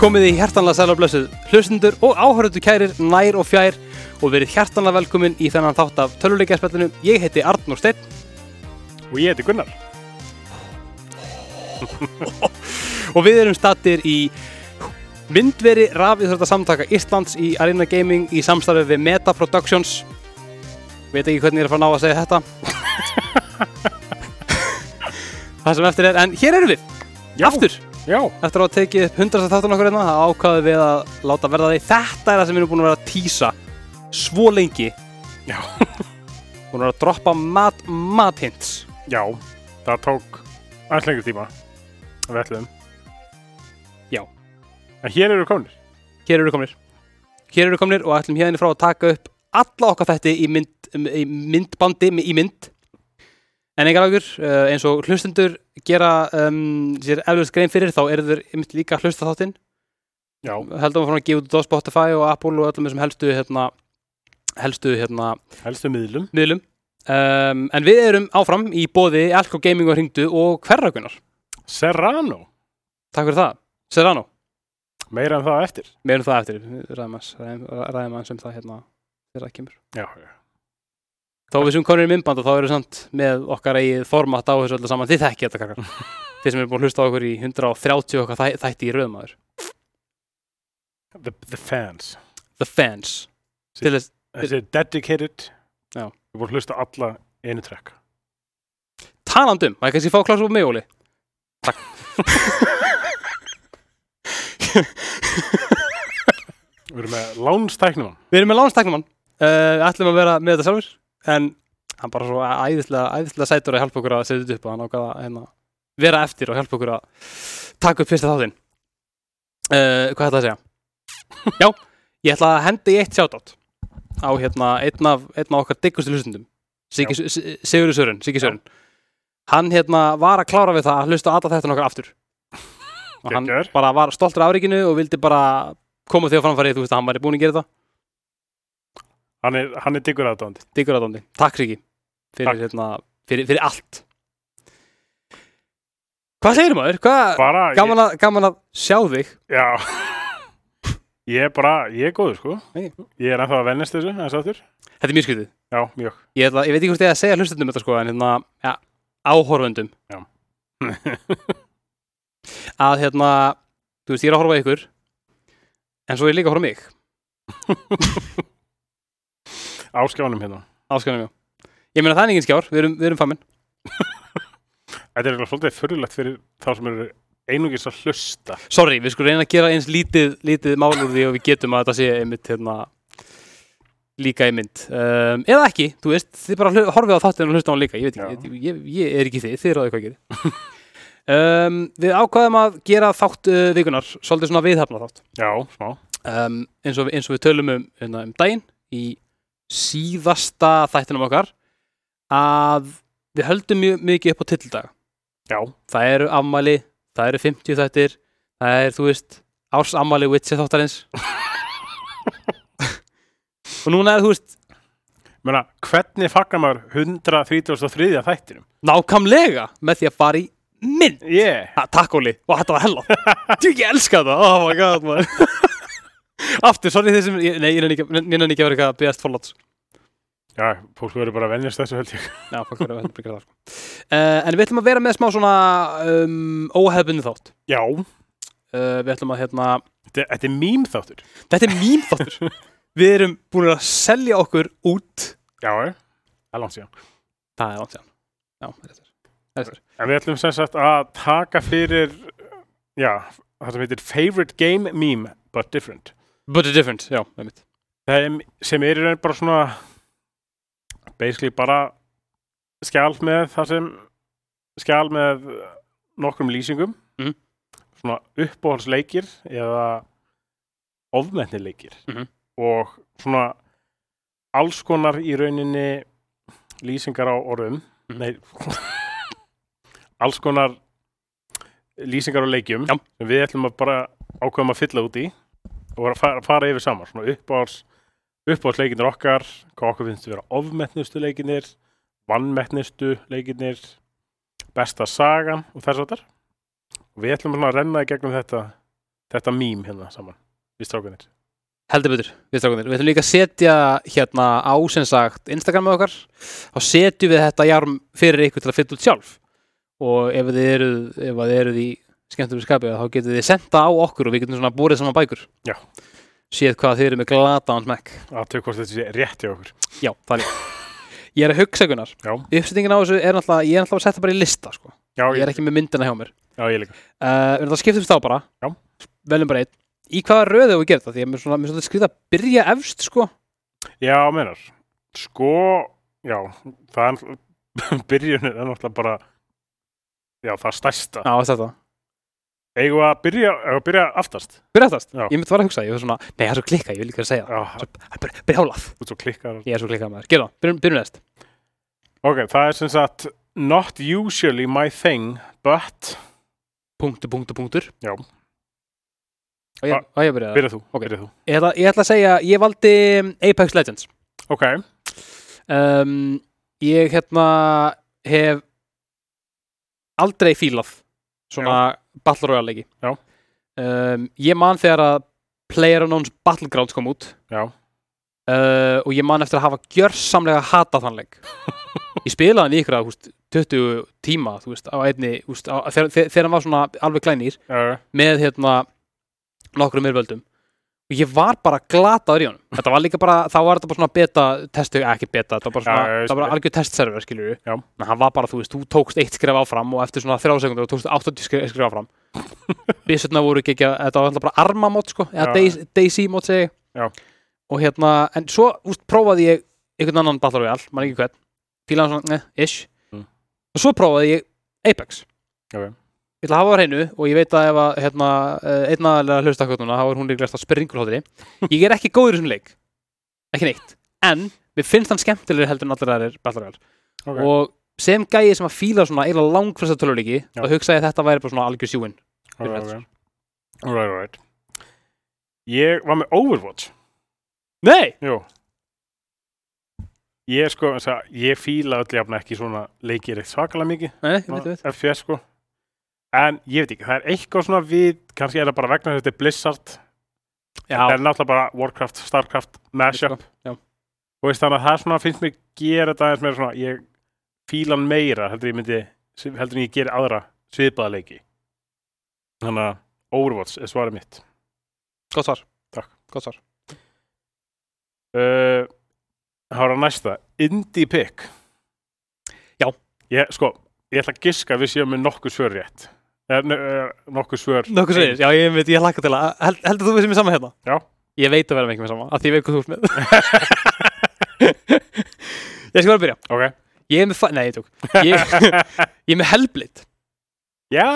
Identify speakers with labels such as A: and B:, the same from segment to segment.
A: Komið í hjertanlega sæl og blessuð hlustendur og áhörðu kærir nær og fjær og verið hjertanlega velkomin í þennan þátt af töluleikjaspellinu. Ég heiti Arnur Steinn
B: Og ég heiti Gunnar.
A: og við erum stattir í myndveri rafið þetta samtaka Íslands í Arena Gaming í samstarfi við Meta Productions. Veit ekki hvernig ég er að fara að ná að segja þetta. Það sem eftir er, en hér erum við,
B: Já.
A: aftur.
B: Já,
A: Eftir að hafa tekið upp hundrasta þáttan okkur hérna, það ákvaðum við að láta verða því. Þetta er það sem við erum búin að vera að týsa svo lengi
B: já,
A: Hún er að droppa mat, mat hints
B: já, það tók aðeins lengur tíma en við ætluðum.
A: Já.
B: En hér eru komnir.
A: Hér eru komnir Hér eru komnir og ætlum hérna frá að taka upp alla okkar þætti í, mynd, í myndbandi í mynd En engar águr, eh, eins og hlustendur gera um, sér eflust grein fyrir þá eru þeir einmitt líka að hlusta á þáttinn
B: Já,
A: heldum að fórum að gefa út á Spotify og Apple og öllum þessum helstu hérna, helstu hérna
B: helstu miðlum.
A: miðlum um, En við erum áfram í bóði Elko Gaming og Hringdu og Hverrakunar
B: Serrano,
A: Takk fyrir það, Serrano
B: meira en það eftir.
A: Við erum það eftir, við ræðum aðeins- ræðum- ræðum aðeins um það hérna þegar það kemur.
B: Já, já.
A: Þó við sem konur í myndband og þá erum við samt með okkar eigið format á þessu öllu saman. Þið þekki þetta kakkar. Þið sem eru búin að hlusta á okkur í 130 okkar þæ- þætti í röðum aður.
B: The, the fans.
A: The fans. Til þess,
B: Þessi dedicated.
A: Já.
B: Við vorum hlusta alla einu trekk.
A: talandum, um, maður kannski fá klás úr mig, Óli. Takk.
B: Við erum með lánstæknumann.
A: við erum með lánstæknumann. Uh, við ætlum að vera með þetta sjálfur, en hann bara svo æðislega, æðislega sætur að hjálpa okkur að setja þetta upp og hann ákvaða að hérna, vera eftir og hjálpa okkur að taka upp fyrsta þáttinn. Uh, hvað ætla að segja? Já, ég ætla að hendi eitt shoutout á hérna, einn af, einn af okkar diggustu hlustundum Sigurður Sörun, Siggi
B: Já.
A: Sörun hann hérna var að klára við það að hlusta alltaf þetta nokkar aftur og hann
B: Geggjaður.
A: bara var stoltur af ríkinu og vildi bara koma því á framfæri, þú veist að hann væri búin að gera það
B: Hann er, hann er diggur aðdóndi.
A: diggur aðdóndi, takk Siggi fyrir,
B: Takk.
A: hérna, fyrir, fyrir allt Hvað segir maður? Hvað,
B: Bara, ég,
A: gaman, að, gaman að sjá þig
B: já. Ég er bara, ég er góður sko.
A: Nei.
B: Ég er ennþá að vennast þessu, eins og aftur.
A: Þetta er mjög skrítið
B: Já, mjög.
A: ég, ætla, ég veit ekki hvort ég að segja hlustendum þetta sko en hérna, ja, áhorfendum
B: Já.
A: að hérna þú veist, ég er að horfa á ykkur en svo er ég líka að horfa á mig
B: Áskjánum hérna.
A: áskjánum já ég meina það er engin skjár, við erum, við erum famin
B: Þetta er eitthvað svolítið fyrirlegt fyrir þá sem eru einungis að hlusta.
A: sorry, við skulum reyna að gera eins lítið, lítið mál úr því og við getum að þetta sé einmitt hérna líka í mynd um, eða ekki, þú veist, þið bara hlu- horfið á þáttinu og hlusta á hann líka, ég veit ekki, ég, ég, ég er ekki þið, þið ráðu hvað gerir um, við ákvaðum að gera þátt uh, vikunar, svolítið svona viðhafna þátt
B: Já, smá.
A: um, eins, og, eins og við tölum um, hérna, um daginn í síðasta þættinum okkar að við höldum mjög mikið upp á tildaga
B: Já,
A: það eru ammali, það eru 50 þættir það er, þú veist, ársammali Witcher þáttarins og núna er, þú veist,
B: menna, hvernig fagnar maður 133. þættinum?
A: nákvæmlega með því að fara í mynd
B: Yeah,
A: ha, takk Óli, og þetta var hella þú ekki elska það, oh my god man. aftur, sorry þeir sem ég- nei, ég nenni ekki, ég nenni ekki að vera eitthvað best forláts
B: já, fólk verður bara að venjast þessu held ég.
A: Já, fólk verður að heldur byggjara það sko. uh, En við ætlum að vera með smá svona um, óhefbunni þátt
B: Já,
A: uh, Við ætlum að hérna
B: þetta, þetta er mím þáttur.
A: Þetta er mím þáttur Við erum búin að selja okkur út
B: Já, eh, það er langt síðan.
A: Það er langt sér Já, það er rétt Það er rétt
B: En við ætlum sem sagt að taka fyrir, já, það sem heitir favorite game meme, but different.
A: But it's different, já, með mitt
B: Það er, sem er í raun bara svona, basically bara skjál með það sem, skjál með nokkrum lýsingum,
A: Mhm.
B: svona uppbóhalsleikir eða ofmennileikir
A: Mhm.
B: og svona alls konar í rauninni lýsingar á orðum,
A: Mhm.
B: nei, alls konar lýsingar á leikjum
A: Já.
B: sem við ætlum að bara ákveðum að fylla út í og vera að fara, fara yfir saman, svona uppbóhals uppbóhalsleikinir okkar, hvað okkur finnst að vera ofmennustu leikinir vannmettnistu leikinir besta sagan og þess að þar og við ætlum svona að renna í gegnum þetta þetta mím hérna saman við strákanir
A: heldur betur, við strákunir. Við ætlum líka að setja hérna á sem sagt Instagramið okkar, þá setjum við þetta jarm fyrir ykkur til að fylla út sjálf og ef þið eruð, ef að þið eruð í skemmtum skapið þá getið þið senda á okkur og við getum svona búrið saman bækur.
B: Já.
A: Séð hvað þið eru með glata án smekk.
B: að tökja hvort þetta sé rétt hjá okkur
A: Já, það er Ég er að hugsa ykkurnar.
B: Já.
A: Uppsettingin á þessu er náttúrulega, ég er náttúrulega að setja bara í lista, sko.
B: já,
A: Ég er
B: ég,
A: ekki með myndina hjá mér.
B: já, ég líka
A: Uh, við erum það skiptumst á bara
B: Já.
A: Veljum bara einn Í hvaða röðu við gerum það? Því ég er mér svona, mér er svona skrýta að byrja efst sko
B: já, menar, sko já, það er náttúrulega- byrjunin er náttúrulega bara já, það stærsta
A: Já, þetta
B: eigum við að byrja, eigum við að byrja aftast
A: Byrja aftast
B: Já.
A: Ég myndi bara að hugsa Ég var svona Nei, það er svo klikkað Ég vil líka að segja það
B: já,
A: Svo- Það er bara brjálað
B: út svo klikkar
A: Ég er svo klikkað maður Gerðu það Byrjum, byrjum næst
B: ok, það er sem sagt not usually my thing but
A: Punktur, punktur, punktur
B: Já.
A: Og ég,
B: Ah.
A: og ég byrja það
B: byrja þú,
A: Ok.
B: byrja þú.
A: ég ætla, ég ætla að segja Ég valdi um, Apex Legends
B: ok,
A: um, Ég hérna hef aldrei fílað svona Battle Royale leiki
B: Já.
A: um, Ég man þegar að PlayerUnknown's Battlegrounds kom út
B: já,
A: uh, og ég man eftir að hafa gjörsamlega hatað þann leik Ég spilaði hann í ykkur að húst, 20 tíma þú veist, á einni, húst, á, þegar, þegar þegar hann var svona alveg glænýr
B: já,
A: með hérna nokkrum yrvöldum og ég var bara glataður í honum þetta var líka bara, þá var þetta bara svona beta testu, ekki beta, þetta var bara svona
B: Já, já, ég
A: það var
B: skil.
A: bara algjör testserver, skilur við
B: Já.
A: en hann var bara, þú veist, þú tókst eitt skref áfram og eftir svona þrjá sekundur tókst þú 80 skref, skref áfram byssutna voru ekki ekki, þetta var alltaf bara arma mót, sko,
B: Já,
A: eða Daisy mót segi ég.
B: Já.
A: og hérna, en svo, úst, prófaði ég einhvern annan Battle Royale, maður ekki hvern fílaði hann svona, ne, ish
B: Mm.
A: og svo prófaði ég Apex
B: Ok.
A: ég ætla að hafa á hreinu og ég veit að ef að hérna, einnaðarlega hlusta okkur núna, þá er hún líklegast að springur hóttri ég er ekki góður í þessum leik ekki neitt, en mér finnst hann skemmtilegri heldur en allir aðrir Battle Royale
B: ok
A: og sem gæi sem að fíla svona eiginlega langfresta töluleiki,
B: Já.
A: þá hugsa ég að þetta væri bara svona algjör sjúin
B: All right,
A: Fyrir
B: all right, all right. Ég var með Overwatch
A: Nei!
B: Jú Ég sko, þess að ég fíla öll jafn ekki svona leikir eitt svakalega mikið
A: Nei, ég veit,
B: svona
A: ég veit
B: FPS sko En ég veit ekki, það er eitthvað svona við kannski er það bara vegna þess að þetta er Blizzard Það
A: Já,
B: er náttúrulega bara Warcraft, Starcraft, Mashup
A: sko, já.
B: og veist þannig að það er svona finnst mér gera þetta aðeins meira svona ég fíla hann meira heldur en ég myndi heldur en ég geri aðra svipaða leiki Þannig að Overwatch er svarið mitt
A: gott svar
B: Takk.
A: Gott svar
B: Uh, Það var að næsta Indie pick
A: Já.
B: ég, Sko, ég ætla að giska að við séum með nokkuð svör rétt Eh, er, er, Nokkuð svör
A: Nókuð segir, já, ég veit, ég hlakka til að held, Heldur þú við sem er sama hérna?
B: Já.
A: Ég veit að vera með ekki með sama, að því ég veit hvað þú ert með Ég skal bara byrja
B: Ok
A: Ég er með, fa- nei, ég tók Ég, ég er með Hellblade
B: Já,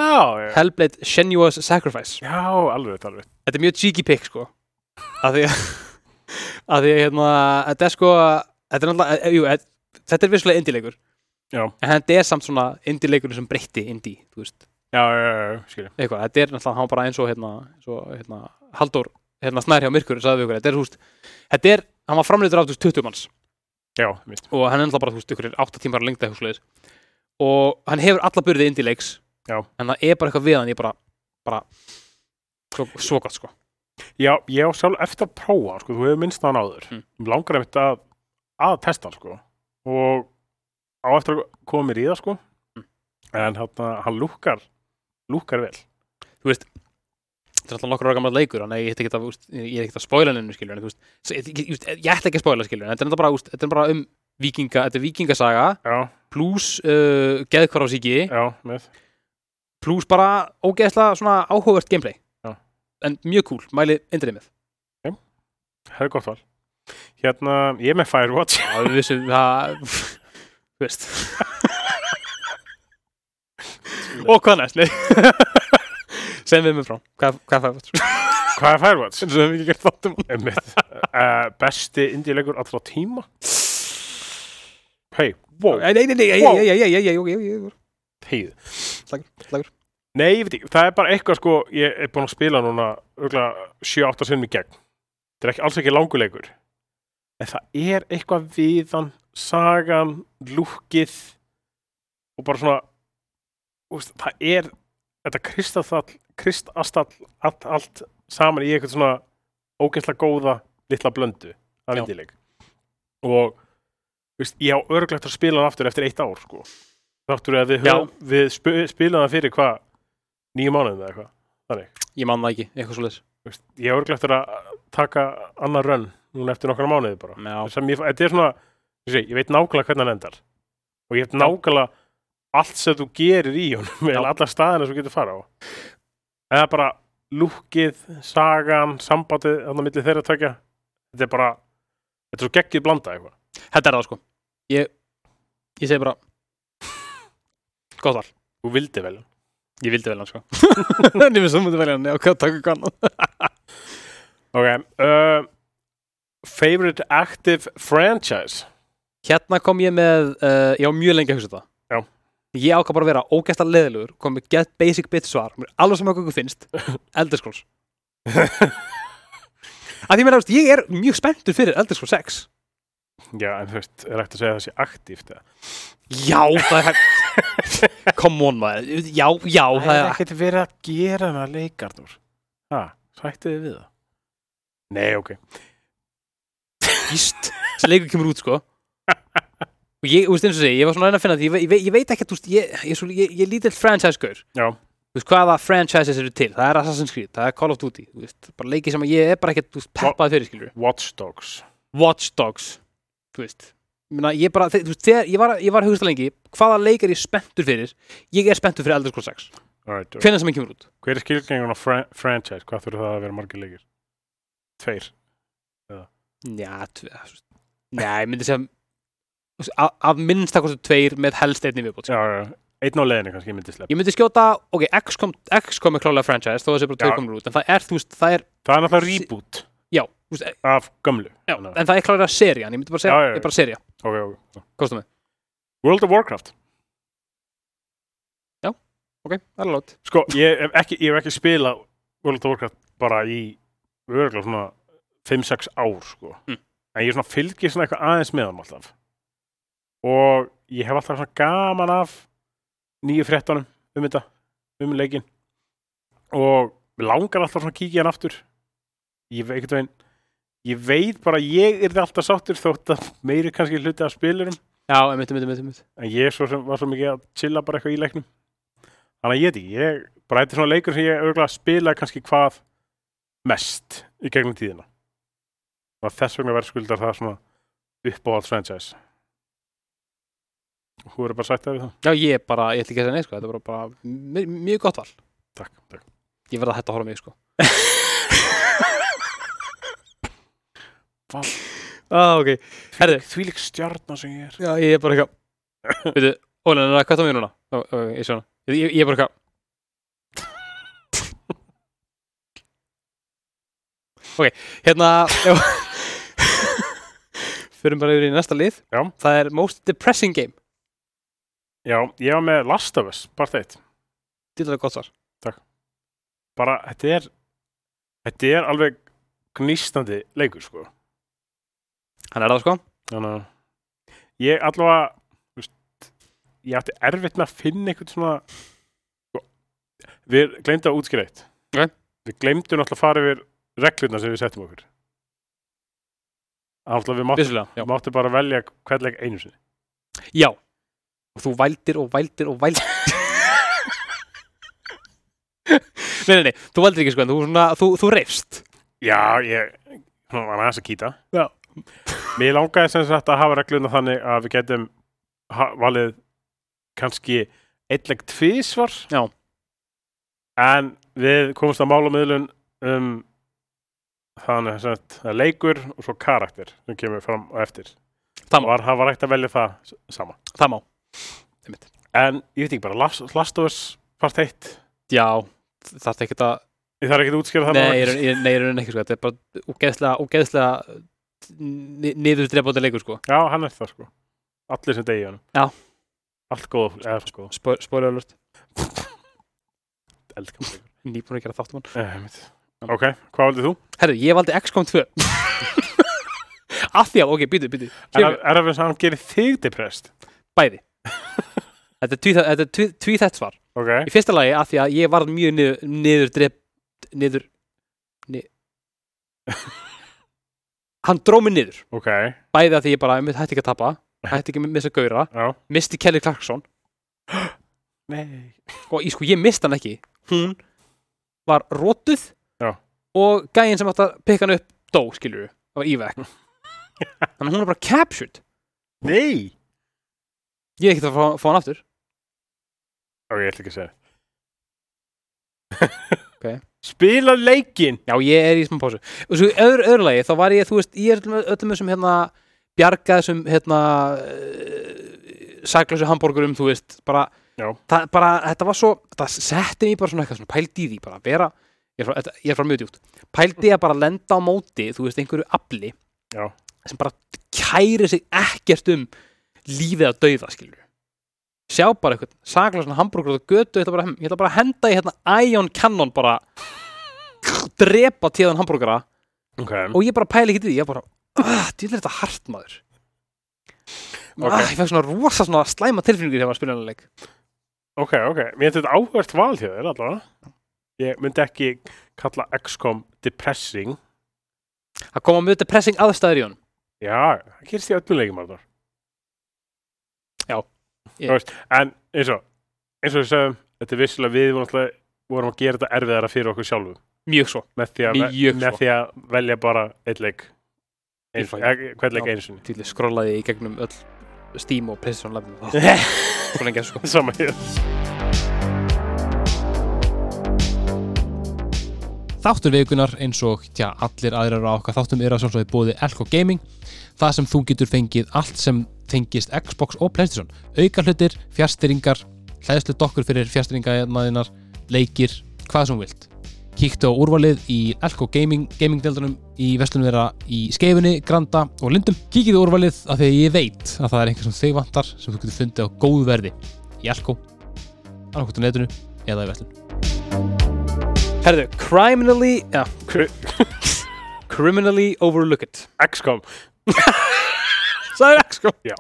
B: já,
A: Hellblade Shenuous Sacrifice
B: já alveg, þetta, alveg
A: þetta er mjög cheeky pick sko að því að að því að hérna þetta er sko þetta er náttúrulega jú, e- þetta er vissulega indie-leikur
B: Já.
A: en þetta er samt svona indie-leikur sem breytti indie þú veist
B: Já, já, já, já, skilja
A: eitthvað þetta er náttúrulega hann var bara eins og hérna svo hérna Halldór hérna snær hjá myrkur sagði við ykkur þetta er húst þetta er hann var framleitur af þú veist 20 manns
B: Já, mitt
A: og hann er náttúrulega bara þú veist ykkur er 8 tímar lengta húsleis og hann hefur alla burði indie-leiks
B: Já.
A: en það er bara eitthvað við hann ég bara bara svo, svo gott sko
B: Já, ég á sjálf eftir að prófa, hann, sko, þú hefur minnst hann áður
A: Mm.
B: Mig Langar einmitt að, að testa hann, sko Og á eftir að koma mér í það, sko
A: Mm.
B: En hann, hann lúkkar, lúkkar vel
A: þetta er alltaf nokkur ára gammal leikur þannig að ég ætti ekki að, úst, ég er ekki að spoila nefnum skilur en, þú veist, s- ég, ég, ég, ég ætla ekki að spoila skilur en þetta er náttúrulega bara, úst, þetta er bara um vikinga, þetta er vikingasaga
B: Já,
A: pluss uh, geðkvarásíki
B: já, með
A: pluss bara ógeðslega svona áhugavert gameplay
B: Já.
A: en mjög cool, mæli indrið með
B: Það er gott val Hérna, ég er með Firewatch
A: Já, við vissum það þú veist og hvað næst nei sem við með frá hvað, hvað fæði fætt
B: Hvað er Firewatch?
A: eins og við hefum ekki gert um þáttum
B: Einmitt. uh, besti indíleikur allra tíma Hey, wow,
A: nei, nei, nei, nei,
B: Wow.
A: nei, nei, nei, nei, nei, nei, nei,
B: heið
A: Slagur, slagur.
B: Nei, ég veit ekki, það er bara eitthvað sko Ég er búin að spila núna örugglega 7-8 sinnum í gegn Það er ekki, alls ekki languleikur En það er eitthvað viðan Sagan, lúkið Og bara svona úst, Það er þetta kristastall, kristastall allt, allt saman í eitthvað svona ógæsla góða litla blöndu að
A: Já.
B: vindileg og þú veist, ég á örglegt að spila hann aftur eftir eitt ár sko þáttur að við,
A: Já.
B: höfum, við sp spilaðum hann fyrir hvað nýju mánuðum eða eitthvað þannig,
A: Ég man það ekki, eitthvað svo leiðis
B: Þú veist, ég á örglegt að taka annar rönn núna eftir nokkra mánuði bara
A: Já,
B: sem ég, þetta er svona ég, segi, ég veit nákvæmlega hvernig hann endar og ég veit nákvæmlega allt sem þú gerir í honum eða alla staðina sem þú getur fara á eða bara lúkið, sagan, sambandið þannig að milli þeirra tvekja þetta er bara, þetta er svo geggið blanda eitthvað
A: þetta er það sko Ég, ég segi bara Góð val,
B: þú vildi vel
A: ég vildi velja hann sko Nýmur sem múti velja hann, já, hvað takk hann
B: ok, uh, favorite active franchise
A: Hérna kom ég með, uh, ég á mjög lengi að hugsa þetta
B: Já.
A: Ég ákvað bara að vera ógæsta leðilegur kom með get basic bit svar Mér er alveg saman hvað ykkur finnst Elder Scrolls Að því meina, þú veist, ég er mjög spenntur fyrir Elder Scrolls 6
B: já, en þú veist, er hægt að segja að það sé aktivt eða?
A: Já, það er hægt Come on maður, já, já það er,
B: ekkert verið að gera með leikarnur ha, sættu þið við það nei, ok
A: víst þessi leikur kemur út sko og ég, þú veist eins og segi, ég var svona að reyna að finna því ég, ve- ég, ve- ég veit ekki að, þú veist, ég, ég, er svo- ég, ég er lítill franchise-gaur
B: Já.
A: þú veist hvaða franchises eru til, það er Assassin's Creed það er Call of Duty, þú veist, bara leiki sem að ég er bara ekkert, þú veist, peppað fyrir, skilur
B: Watch Dogs
A: Watch Dogs, þú veist ég meina, ég bara, þe- þú veist, þegar ég var, ég var að hugsta lengi, hvaða leik er ég spenntur fyrir ég er spenntur fyrir Elder Scrolls 6
B: Alright, hver,
A: hvernig sem ég kemur út,
B: hver er skilgengun á fra franchise? Hvað þurfa það að vera margir leikir? Tveir.
A: já, tve- þú veist, Nei, ég myndi segja þú veist, að, að minnst að tveir með helst einni viðbót,
B: Já, já, já. Einn á leiðinni kannski, ég myndi slepp.
A: ég myndi skjóta, ok, XCOM, XCOM er klálega franchise, þó þessi bara
B: Já.
A: tveir komur út en það er, þú veist, það er,
B: Það er náttúrulega
A: Sí-
B: reboot
A: já, þú veist,
B: af gömlu.
A: já
B: Þannig að-
A: en það er klálega serían, ég myndi bara segja,
B: Já, já, já.
A: ég er bara serja,
B: Ok, ok. ok.
A: kostum við
B: World of Warcraft.
A: ok, það er lót,
B: Sko, ég hef ekki, ég hef ekki spilað World of Warcraft bara í örgulega svona 5-6 ár, sko.
A: Mm.
B: En ég er svona fylgið svona eitthvað aðeins með hann alltaf. Og ég hef alltaf svona gaman af nýju fréttanum um þetta, um leikin. og mig langar alltaf svona að kíkja hann aftur ég veit, veginn, ég veit bara að ég er alltaf sáttur þótt að meiri kannski hluti af spilurum
A: já, einmitt, einmitt, einmitt, einmitt.
B: en ég svo sem var svo mikið að chilla bara eitthvað í leiknum þannig að ég veit ekki, ég bara þetta er svona leikur sem ég örgulega spila kannski hvað mest í gegnum tíðina og þess vegna verðskuldar það svona uppáhalds franchise Hú eru bara sættið við það
A: já, ég er bara, ég ætla ekki að segja nei, sko, þetta er bara, bara mj- mjög gott val
B: Takk, takk
A: ég verða hægt að horfa á mig, sko
B: Vá.
A: ah, ok, herðu
B: Þvílík stjarnar sem ég er
A: já, ég er bara eitthvað veitu, Ólan, er það hvað það mér núna? Ó, ó, ég, sé hana. ég, ég- ég er bara eitthvað ok, hérna fyrir bara yfir í næsta lið
B: Já.
A: það er Most Depressing Game
B: Já, ég var með Last of Us, part 1
A: dýrlega gott svar
B: bara, þetta er þetta er alveg gnýstandi leikur, sko
A: hann er það sko
B: þannig að ég allavega þú veist, ég átti erfitt með að finna einhvern svona sko, við glemdu að útskýra eitt
A: Ok.
B: við glemdu náttúrulega að fara yfir reglurna sem við settum okkur alltaf við máttum,
A: vissulega, já.
B: máttum bara velja hvern leik einu sinni
A: já og þú vældir og vældir og vældir nei, nei, nei, þú vældir ekki sko en þú, svona, þú, þú reyfst
B: já, ég hún var aðeins að kýta
A: já.
B: Mér langaði sem sagt að hafa regluna þannig að við getum ha- valið kannski eitleg tvísvar
A: Já.
B: en við komumst að málamiðlun um þannig sem sagt það er leikur og svo karakter sem kemur fram og eftir
A: Það má.
B: var, það var ekkert að velja það s- sama
A: það má
B: en ég veit ekki bara Last, Last of Us part 1
A: já, þarf ekki að
B: ég þarf ekki að útskýra það
A: Nei,
B: nánar.
A: ég er- ég- nei, ég er raunin ekki sko, þetta er bara ógeðslega, ógeðslega niðurdrefandi leikur sko
B: Já, hann er það sko Allir sem degi hann
A: Já.
B: Allt góð, eða sko,
A: Spo- Spoiler alert,
B: eldkamp leikur
A: nýbúin að gera þáttum hann
B: Eh, einmitt. Ok, hvað valdið þú?
A: Herru, ég valdi XCOM 2 Af því að, ok, býtu, býtu
B: Er, er, er að við saman gerir þig depressed?
A: Bæði Þetta er tvíþætt- þetta er tví- tvíþætt svar
B: ok,
A: Í fyrsta lagi af því að ég varð mjög niður, niður drep, niður ni... Hann dró mig niður
B: ok,
A: Bæði af því ég bara einmitt hætti ekki að tapa Hætti ekki að missa gauðra
B: já
A: Misti Kelly Clarkson
B: Nei.
A: sko, ég, sko, ég misti hann ekki Hún var rótuð
B: Já.
A: Og gæinn sem átti að pikka hann upp Dó, skilur við, það var ívek Þannig að hún er bara captured
B: Nei
A: Ég er ekkert að fá, fá hann aftur
B: Ok, ég ætla ekki að segja
A: Ok.
B: Spila leikinn
A: Já, ég er í smá pásu Og svo í öðru, öðru lagi, þá var ég, þú veist, ég er öllum, öllum þessum hérna bjarga þessum hérna uh, saklausu hambúrgurum, þú veist bara,
B: Já.
A: það, bara, þetta var svo það setti mig bara svona eitthvað, svona pældi í því bara, að vera, ég er frá, þetta- ég er frá mjög djúpt pældi í að bara lenda á móti, þú veist, einhverju afli
B: Já.
A: sem bara kæri sig ekkert um lífið að dauða, skilur sjá bara eitthvað, saklausan hambúrgur og götu, ég ætla bara, ég ætla bara að henda í hérna Ion Cannon bara drepa tíðan hambúrgara
B: Ok,
A: og ég bara pæli ekki í því, ég bara dýlir þetta hart maður
B: Ok.
A: ah, ég fæk svona rosa svona slæma tilfinningur þegar maður spila hann leik
B: ok, ok Mér finnst þetta áhvert val hjá þér allavega Ég myndi ekki kalla XCOM depressing
A: það koma mjög depressing aðstæður í honum
B: Já, það gerist í öllum leikum Arnar
A: Já. Ég-
B: Þú veist, En eins og eins og við sögum, þetta er vissulega við vorum, alltaf, vorum að gera þetta erfiðara fyrir okkur sjálfum
A: mjög svo,
B: með því að,
A: Mjög
B: með
A: svo.
B: því að velja bara eitt leik
A: Ég
B: Eins-
A: fæ-
B: eh, hvern leik
A: Já.
B: eins og
A: til ég skrollaði í gegnum öll Steam og PlayStation Live og það,
B: niður
A: svo lengi að sko
B: Sama hér
C: Þáttur vikunar eins og tja, allir aðrar á okkar þáttum eru að sjálfsögðu bóði Elko Gaming það sem þú getur fengið allt sem tengist Xbox og Playstation auka hlutir, fjárstyringar hlæðslu dokkur fyrir fjárstyringaðinnar leikir, hvað sem þú vilt kíktu á úrvalið í Elko Gaming gamingdeldunum í vestlunum vera í Skeifunni, Granda og Lindum kíkið á úrvalið af því að ég veit að það er einhver sem þau vantar sem þú getur fundið á góðu verði í Elko, annarkvort á netinu eða í vestlun
A: herðu, criminally ja, cri criminally overlooked
B: XCOM
A: sagði ekki sko,
B: Já,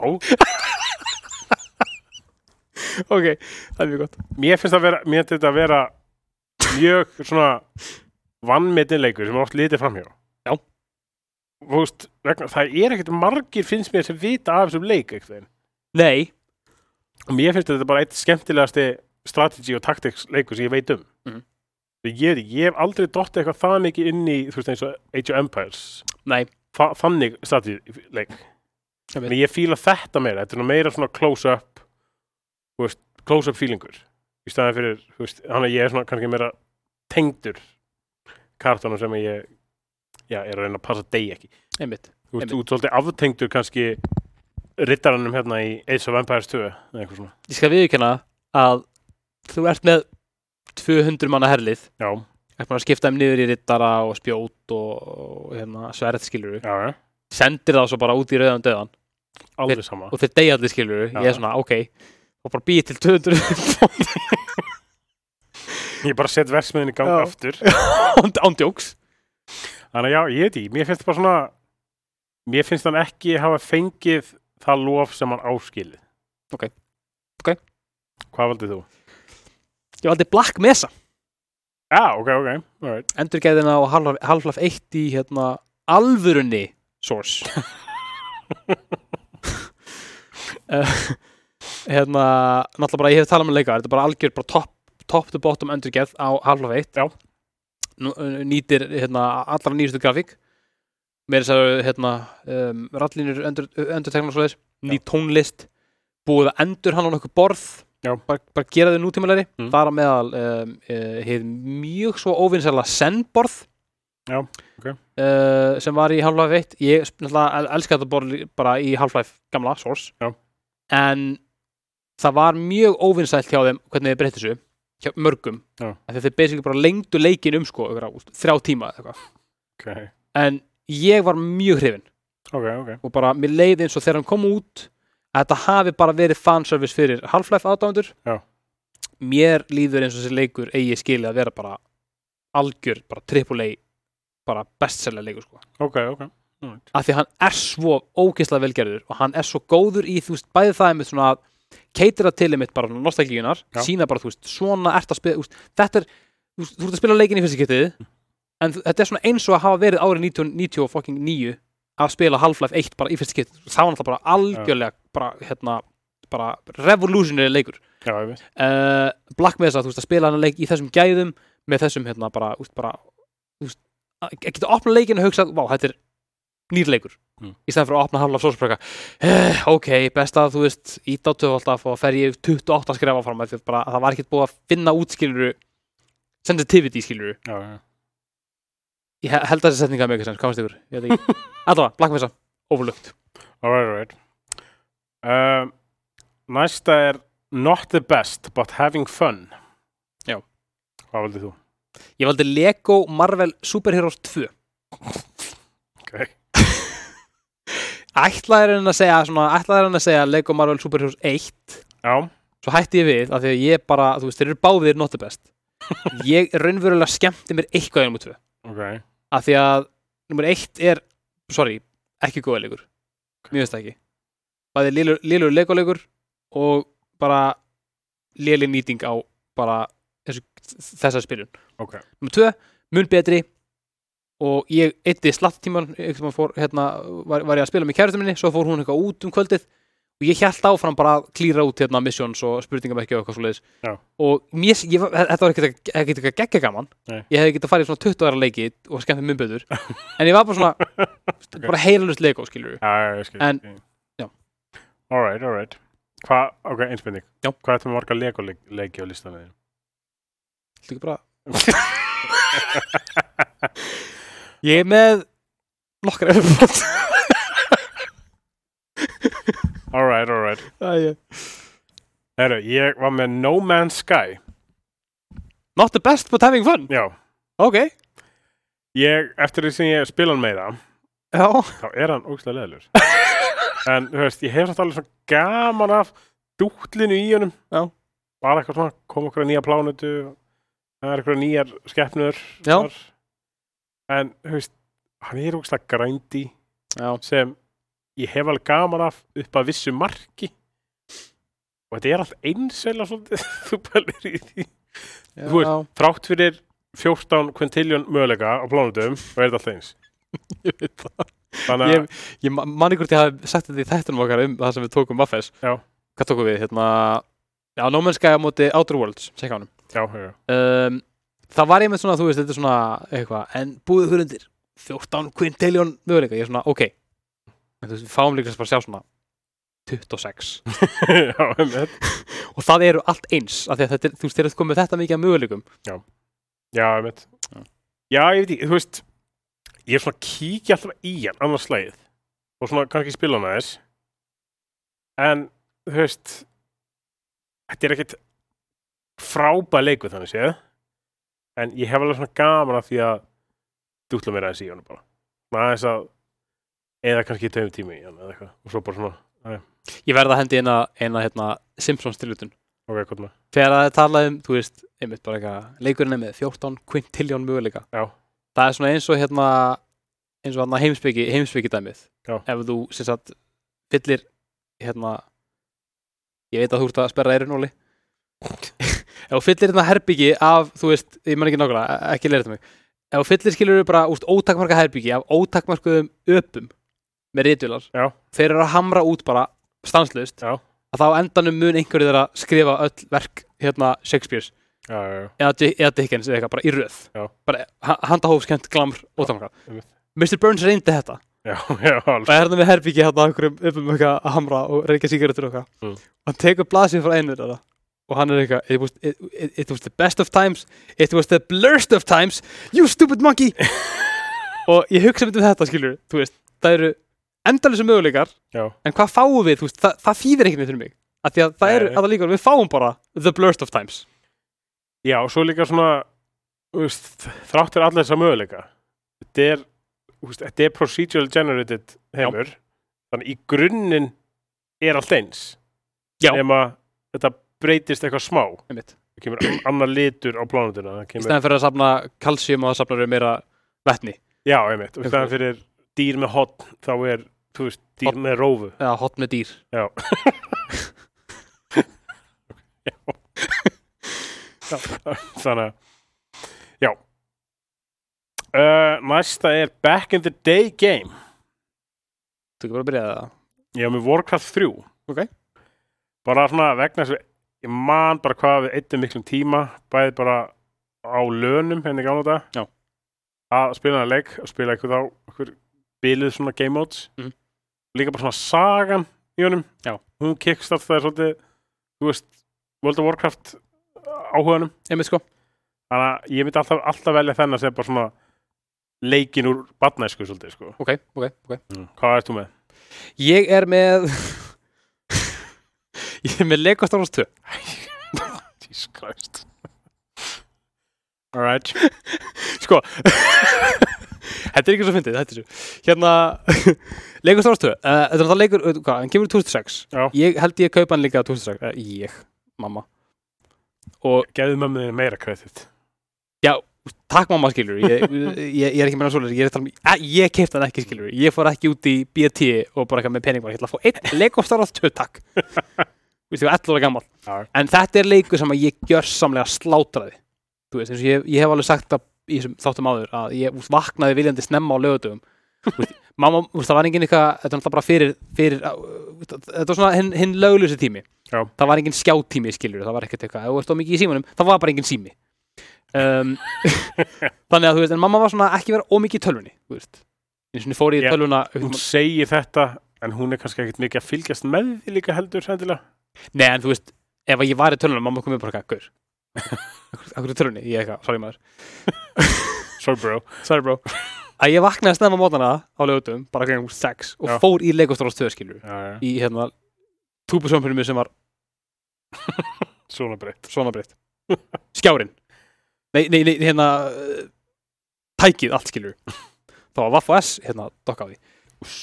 A: ok, það er mjög gott
B: mér finnst að vera, mér finnst þetta að vera mjög svona vannmetinleikur sem er oft litið framhjá
A: Já.
B: Þú veist, vegna, það er ekkert margir finnst mér sem vita af þessum leik eitthvað.
A: nei,
B: og mér finnst þetta bara eitt skemmtilegasti strategi og taktiks leikur sem ég veit um
A: Mhm.
B: ég, ég, ég hef aldrei dottið eitthvað það mikið inn í þú veist eins og Age of Empires
A: nei,
B: Þa, þannig strategi leik
A: Ég veit.
B: en ég fíla þetta meira þetta er nú meira svona close up þú veist, close up feelingur í staðan fyrir, þú veist, hann að ég er svona kannski meira tengdur kartanum sem ég já, er að reyna að passa deg ekki
A: einmitt
B: þú veist,
A: Einmitt.
B: út svolítið aftengdur kannski rittaranum hérna í Ace of Empires 2 eða eitthvað svona,
A: ég skal viðurkenna að þú ert með 200 manna herlið
B: já,
A: ert búin að skipta þeim niður í rittara og spjót og, og hérna, sverð skilur
B: já, já
A: sendir það svo bara út í rauðan döðan
B: alveg sama
A: og þeir deyja allir skilur ég
B: Já.
A: er svona ok og bara býið til 200
B: ég bara set versmiðin í gang
A: Já.
B: aftur
A: án- án djóks
B: Þannig að já, ég veit ekki, mér finnst bara svona mér finnst hann ekki hafa fengið það lof sem hann áskilið
A: Ok. Ok.
B: Hvað valdið þú?
A: ég valdi Black Mesa
B: Já, ok, ok, alright
A: endurgæðina og Half-Life Half 1 í hérna alvörunni Source Eh, hérna náttúrulega bara ég hef talað með leika þetta er bara algjör bara top, top to bottom endurgæð á Half-Life 1
B: Já.
A: Nú, eh, nýtir hérna allra nýjustu grafík með þess að hérna um, rallínur endur, endurtegnar svoleiðis ný tónlist búið að endur hann á nokkuð borð
B: Já.
A: bara, bara gera þau nútímalegri
B: Mm.
A: þar að meðal um, uh, heið mjög svo óvinnsæla sennborð
B: Já, ok.
A: Eh, sem var í Half-Life 1 ég sp- náttúrulega el- elska þetta borð lí- bara í Half-Life gamla Source
B: Já.
A: en það var mjög óvinnsælt hjá þeim hvernig þið breyttu þessu hjá mörgum
B: Já.
A: af því að þeir basically bara lengdu leikin um sko einhverja, úst, þrjá tíma eða eitthvað
B: Ok,
A: en ég var mjög hrifin
B: ok, ok
A: og bara mér leiði eins og þegar hann kom út að þetta hafi bara verið fanservice fyrir Half-Life aðdáðundur
B: Já.
A: mér líður eins og þessi leikur eigi skilið að vera bara algjör, bara AAA bara bestseller leikur sko
B: Ok, ok, alright
A: af því að hann er svo ógeðslega velgerður og hann er svo góður í þú veist bæði það með svona að keitira til einmitt bara nostalgíunar,
B: Já.
A: sína bara, þú veist, svona ert að spila, þú veist, þetta er þú, veist, þú ert að spila leikin í fyrsta getið en þú- þetta er svona eins og að hafa verið árið 1999 að spila Half-Life 1 bara í fyrsta getið, það var náttúrulega bara algjörlega bara, hérna, bara revolutionary leikur
B: já, ég veit
A: uh, Black Mesa, þú veist, að spila hann leik í þessum gæðum með þessum, hérna, bara, þú veist, bara þú veist, að að geta opnað leikinu og hugsað, vá, þetta er nýr leikur
B: Mm.
A: í stæðan fyrir að opna Half-Life Sourcebraka eh, ok, best að, þú veist, ít á töfaldaf og fer ég 28 skrefa fram þetta er bara, að það var ekkert búið að finna út skiluru sensitivity skiluru
B: já, já.
A: ég he- held að þessi setninga með eitthvað sem, hvað finnst ykkur? Ég veit ekki. Allavega, Black Mesa, overlooked
B: All right, all right. Um, næsta er Not the best, but having fun.
A: Já.
B: Hvað valdið þú?
A: Ég valdi Lego Marvel Superheroes 2
B: Ok.
A: Ætlaðir en að segja, svona, ætlaðir en að segja Lego Marvel Superheroes 1
B: Já,
A: svo hætti ég við af því að ég bara, þú veist, þeir eru báðir not the best ég raunverulega skemmti mér eitthvað í nummer 2
B: ok.
A: af því að nummer 1 er, sorry, ekki góða leikur mjög veist það ekki bæði lélur- lélugur leikuleikur og bara léli nýting á bara þessu, þessar spilun
B: Ok.
A: nummer 2, mun betri og ég eitti slattíman fór, hérna, var, var ég að spila með kærustum minni svo fór hún eitthvað út um kvöldið og ég held áfram bara að klíra út hérna missions og spurningamekki og eitthvað svoleiðis
B: Já.
A: og mér, ég, var- þetta var ekkert ekkert eitthvað geggja gaman
B: Nei.
A: ég hefði getað farið í svona 20 ára leiki og skemmt mun betur en ég var bara svona, bara heilalust leiko skilur
B: Já, já, ég skil.
A: En-
B: ég-
A: já.
B: All right, all right. Hvað, ok, einspending.
A: Já.
B: Hvað ertu með marga legoleiki á listanum þínum?
A: Líka bara Ég er með nokkra yfirbót
B: All right, all right. Herru, ég var með No Man's Sky.
A: Not the best but having fun
B: Já.
A: Ok,
B: Ég, eftir því sem ég spila hann meira,
A: já
B: þá er hann ógstlega leðilegur. en, þú veist, ég hef samt alveg svona gaman af dútlinu í honum.
A: Já.
B: Bara eitthvað svona, kom okkur nýja plánutu, það er eitthvað nýjar skeppnur.
A: Já.
B: þar. En, þú veist, hann er ógstlega grændi
A: Já,
B: sem ég hef alveg gaman af upp að vissu marki. Og þetta er allt einsveila svolítið, þú pælir í því. Þú veist, Þrátt fyrir 14 kvintiljón möguleika á plánutum, og er þetta allt eins.
A: ég veit það
B: Þannig að,
A: Ég, ég ma- man ykkur til að hafa sagt þetta í þættunum okkar um það sem við tókum Muffes
B: Já.
A: Hvað tókum við? Hérna, já, No Man's Sky á móti Outer Worlds, segja hann
B: já, já, já.
A: um, Það var ég með svona, þú veist, þetta er svona eitthvað, en búið ykkur undir 14 quintillion möguleika, ég er svona, ok en þú veist, við fáum líka bara að sjá svona 26
B: já, einmitt.
A: og það eru allt eins, af því að þetta er, þú veist, þeir eru komið þetta mikið af möguleikum
B: Já, ég veit
A: Já.
B: Já, ég veit ekki, þú veist Ég er svona að kíkja alltaf í hann annars slæðið og svona kannski spila hann aðeins en, þú veist Þetta er ekkit frábæð leikur þannig séð en ég hef alveg svona gaman af því að dútla mér aðeins í hann bara svona aðeins að eða kannski tveim tími í hann eða eitthvað og svo bara svona,
A: Ég verða að hendi eina, eina hérna, Simpsons tilutun
B: ok, hvað með
A: þegar það er talað um, þú veist, einmitt bara eitthvað leikurinn er með 14 quintillion möguleika
B: Já.
A: það er svona eins og hérna eins og hérna heimsbyggi, heimsbyggi dæmið
B: Já.
A: ef þú sem sagt fyllir hérna ég veit að þú ert að sperra eirunóli ef þú fyllir hérna herbyggi af, þú veist, ég man ekki nákvæmlega e- ekki leir þetta mig, ef þú fyllir skilur bara úst ótakmarka herbyggi af ótakmarkuðum öpum með ritular
B: Já.
A: þeir eru að hamra út bara stanslust
B: Já.
A: að þá á endanum mun einhverju þeirra skrifa öll verk hérna Shakespeare's
B: Já, já, já,
A: eða, Di- eða Dickens eða eitthvað bara í röð
B: Já.
A: bara ha- handahófskent, glamr og þannig
B: einmitt.
A: Mr. Burns reyndi þetta
B: já, já, alls
A: það er hérna með herbyggi hérna okkur um um eitthvað að hamra og reykja sigarettur og eitthvað
B: Mm.
A: hann tekur blasið frá einu þetta og hann er eitthvað it was, it, it, it was the best of times it was the blurst of times you stupid monkey og ég hugsa myndum þetta skilur þú veist, það eru endalisum möguleikar
B: Já.
A: en hvað fáum við, þú veist, það, það þýðir ekki neitt fyrir mig af því að það
B: Nei,
A: eru,
B: nei.
A: að það líka, við fáum bara the blurst of times
B: Já, og svo líka svona þú veist, þráttir allir þessa möguleika þetta er, þú veist, þetta er procedural generated heimur þannig í grunninn er allt eins
A: Já.
B: nema þetta breytist eitthvað smá
A: einmitt
B: það kemur an- annar litur á plánutuna það
A: í
B: kemur,
A: stæðan fyrir að safna kalsíum og það safnar við meira vetni
B: já, einmitt, og í staðan fyrir dýr með hotn þá er, þú veist, dýr
A: Horn.
B: með rófu
A: eða hot með dýr
B: Já. þannig að já uh, næsta er Back in the Day Game
A: Þú ekki bara að byrja það
B: ég var með Warcraft 3
A: Ok.
B: bara svona vegna þess að ég man bara hvað við eittum miklum tíma bæði bara á hérna lönum henni gána þetta
A: Já.
B: að spila hana leik og spila eitthvað á okkur bilið svona game modes
A: Mhm.
B: líka bara svona sagan í honum
A: Já.
B: hún kickstart það er svolítið þú veist World of Warcraft uh, áhuganum
A: Einmitt sko
B: þannig að ég myndi alltaf, alltaf velja þennan sem bara svona leikin úr batnæsku svolítið sko
A: Ok, ok, ok
B: hvað ert þú með?
A: Ég er með Ég er með Lego Star Wars 2
B: Jesus Christ alright
A: Sko Þetta er ekki svo fyndið, þetta er svo Hérna, Lego Star Wars 2 uh, Þetta er náttúrulega leikur, uh, hvað, hann kemur í 2006
B: Já.
A: Ég held ég kaupa hann líka 2006 uh, Ég, mamma Og
B: gefðu mömmu þínu meira kredit
A: takk mamma skilur Ég, ég, ég er ekki meina svoleiðis Ég, er að tala um- að ég kefti hann ekki skilur Ég fór ekki út í BT og bara eitthvað með pening bara, Ég ætla að fá einn Lego Star Wars 2 takk Vistu, ég var 11 ára gammal
B: Já.
A: En þetta er leikur sem að ég gjör samlega slátraði Þú veist, eins og ég, ég hef alveg sagt það í þessum þáttum áður að ég úst, vaknaði viljandi snemma á lögutum Mamma, úst, það var engin eitthvað þetta var náttúrulega bara fyrir, fyrir á, úst, þetta var svona hinn hin lögulösi tími
B: Já.
A: það var engin skjátími skilur það var ekkert eitthvað, ef þú ert þá mikið í símanum það var bara engin sími um, þannig að þú veist, en mamma var svona ekki vera ómikið í tölvunni, þú veist eins og hún fór í
B: Já.
A: tölvuna
B: hún segir þetta en hún er kannski ekkert mikið að fylgjast með því líka heldur sendilega
A: Nei, en þú veist, ef að ég var í tölunum, mamma komið bara eitthvað, gaur. Akkur, akkur í tölunni, ég eitthvað, sorry maður.
B: sorry bro
A: Sorry bro. Að ég vaknaði snemma mótana á lögutum, bara kringum sex, og
B: Já.
A: fór í leikostóra stöðskilur.
B: já, já.
A: Í hérna, túbusjónpunum sem var
B: svona breytt
A: svona breytt. Skjárin. Nei, nei, nei, hérna, eh, tækið allt skilur. Það var Vaff og S, hérna, dokka á því.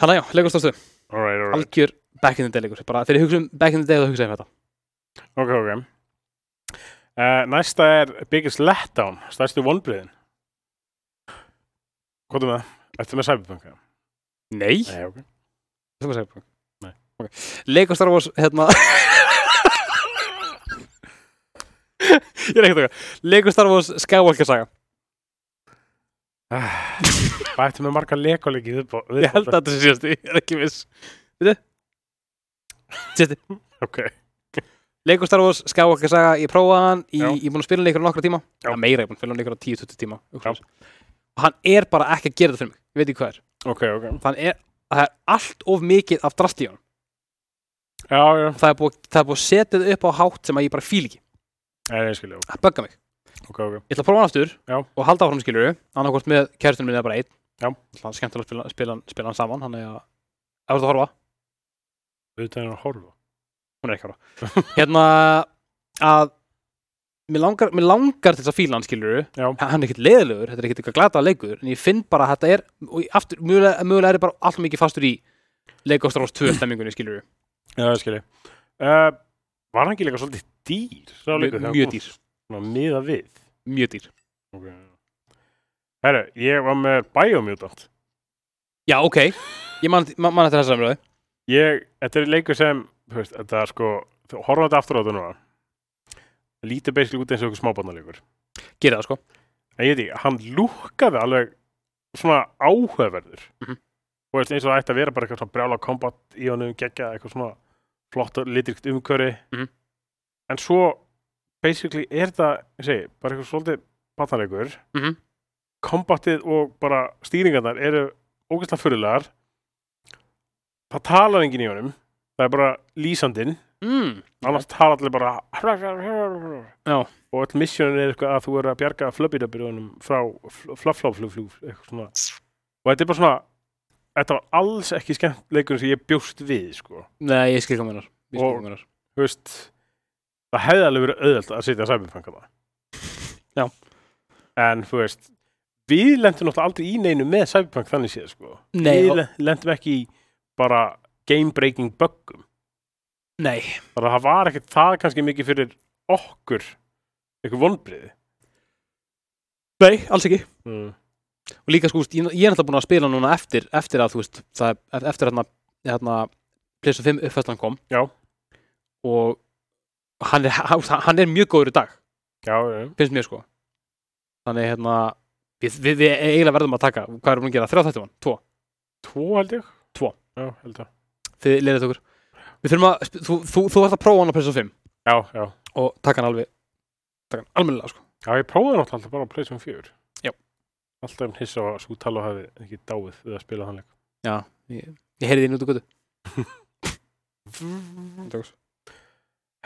A: Hanna já, leikostóra stöð,
B: alright, alright.
A: algjör back in the day leikur. Bara þegar ég hugsa um back in the day, þá hugsa ég um þetta.
B: ok, ok uh, næsta er biggest letdown stærstu vonbriðin hvað er með það? Ertu með Cyberpunk? eða?
A: Nei.
B: Nei, ok
A: Þú veist ekki
B: Nei.
A: okay. Lego Star Wars hérna Ég er ekkert okkar Lego Star Wars Skywalker saga
B: Hvað ættum við marga leikoleiki upp á?
A: Ég held að þetta sé síðast Ég er ekki viss Veitu Sérstu
B: Ok,
A: Lego Star Wars Skywalker saga Ég prófaði hann í,
B: Já.
A: Ég er búinn að spila hann í ykkur nokkra tíma
B: Já.
A: Já. Meira, ég er búinn að spila hann í ykkur 10-20 tíma eitthvað
B: Já.
A: svoleiðis. Og hann er bara ekki að gera þetta fyrir mig Ég veit ekki hvað er
B: ok, ok
A: Þann er Það er allt of mikið af drast í honum
B: Já, já,
A: Og Það er búið, það er búið að setja þau upp á hátt sem að ég bara fíl ekki
B: Nei, ég skilja,
A: Það böggar mig
B: ok, ok, ok
A: ég ætla að prófa hann aftur
B: Já.
A: og halda áfram skilur annarkvort með kærtunum minni eða bara einn
B: Já.
A: Það er skemmtilega að spila, spila, hann- spila hann saman hann er að, ef þú ert að horfa,
B: Auðvitað er að horfa
A: hún er ekki að horfa hérna að mér langar, mér langar til þess að fíla hann skilur
B: Já.
A: hann er ekkert leiðilegur, þetta er ekkert eitthvað glata leikur en ég finn bara að þetta er og ég aftur, mögulega, mögulega er ég bara allt mikið fastur í leikastráns 2 stemmingunni skilur
B: Já, ég skilja uh, Var hann ekki líka svolítið dýr? Sá
A: mjög,
B: líka þegar
A: mjög
B: hann kom
A: dýr,
B: Svona miða við
A: mjög dýr
B: Ok Herru, ég var með Biomutant
A: já ok, ég man, man, man eftir þess að mér
B: Ég, þetta er leikur sem, þú veist, þetta er sko þú- Horfa þetta aftur á þetta núna Lítið basically út eins og ykkur smábarnarleikur
A: gera það sko
B: en ég veit ekki, hann lúkkaði alveg svona áhugaverður
A: Mhm.
B: og veist, eins og það ætti að vera bara eitthvað svona brjála kombat í honum, geggja eitthvað svona flott og litrikt umköri
A: Mhm.
B: en svo basically er þetta, ég segi, bara eitthvað svolítið batnarleikur,
A: mm -hmm.
B: kombatið og bara stýringarnar eru ógeðslega fyrirlegar það talar enginn í honum það er bara lýsandinn
A: mm.
B: annars tala allir bara
A: Já.
B: og öll missionin er eitthvað að þú eru að bjarga flöbbidabirjónum frá flafláflugflú eitthvað svona og þetta er bara svona þetta var alls ekki skemmt leikurinn sem ég bjóst við sko.
A: nei, ég skil hvað mér
B: Og- Þú veist, það hefði alveg verið auðvelt að setja sæbjörnfangana
A: Já.
B: en þú veist við lendum náttúrulega aldrei í neinu með sæbjörnfang þannig séð sko.
A: Nei,
B: við
A: og-
B: le- lendum ekki í bara game breaking böggum
A: nei,
B: þannig að það var ekkert það kannski mikið fyrir okkur eitthvað vonbriði
A: nei, alls ekki
B: mm.
A: og líka sko, þú veist, ég, ég er náttúrulega búin að spila núna eftir, eftir að þú veist, það, er- eftir hérna, hérna PlayStation 5 uppfæslan kom
B: Já.
A: og hann er, hann- hann er mjög góður í dag
B: já, já,
A: finnst mér sko þannig hérna við, við, við eiginlega verðum að taka hvað erum við að gera, þrjá þættum hann, tvo
B: tvo held ég
A: Tvo.
B: já, held það
A: þið leirið okkur við þurfum að, þú, þú, þú ert að prófa hann á PlayStation 5
B: já, já,
A: og taka hann alveg taka hann almennilega sko
B: já, ég prófaði náttúrulega alltaf bara á Playstation 4
A: Já.
B: alltaf um hissa að svo tala hafi ekki dáið við að spila þann leik
A: ég heyrði þín út og götu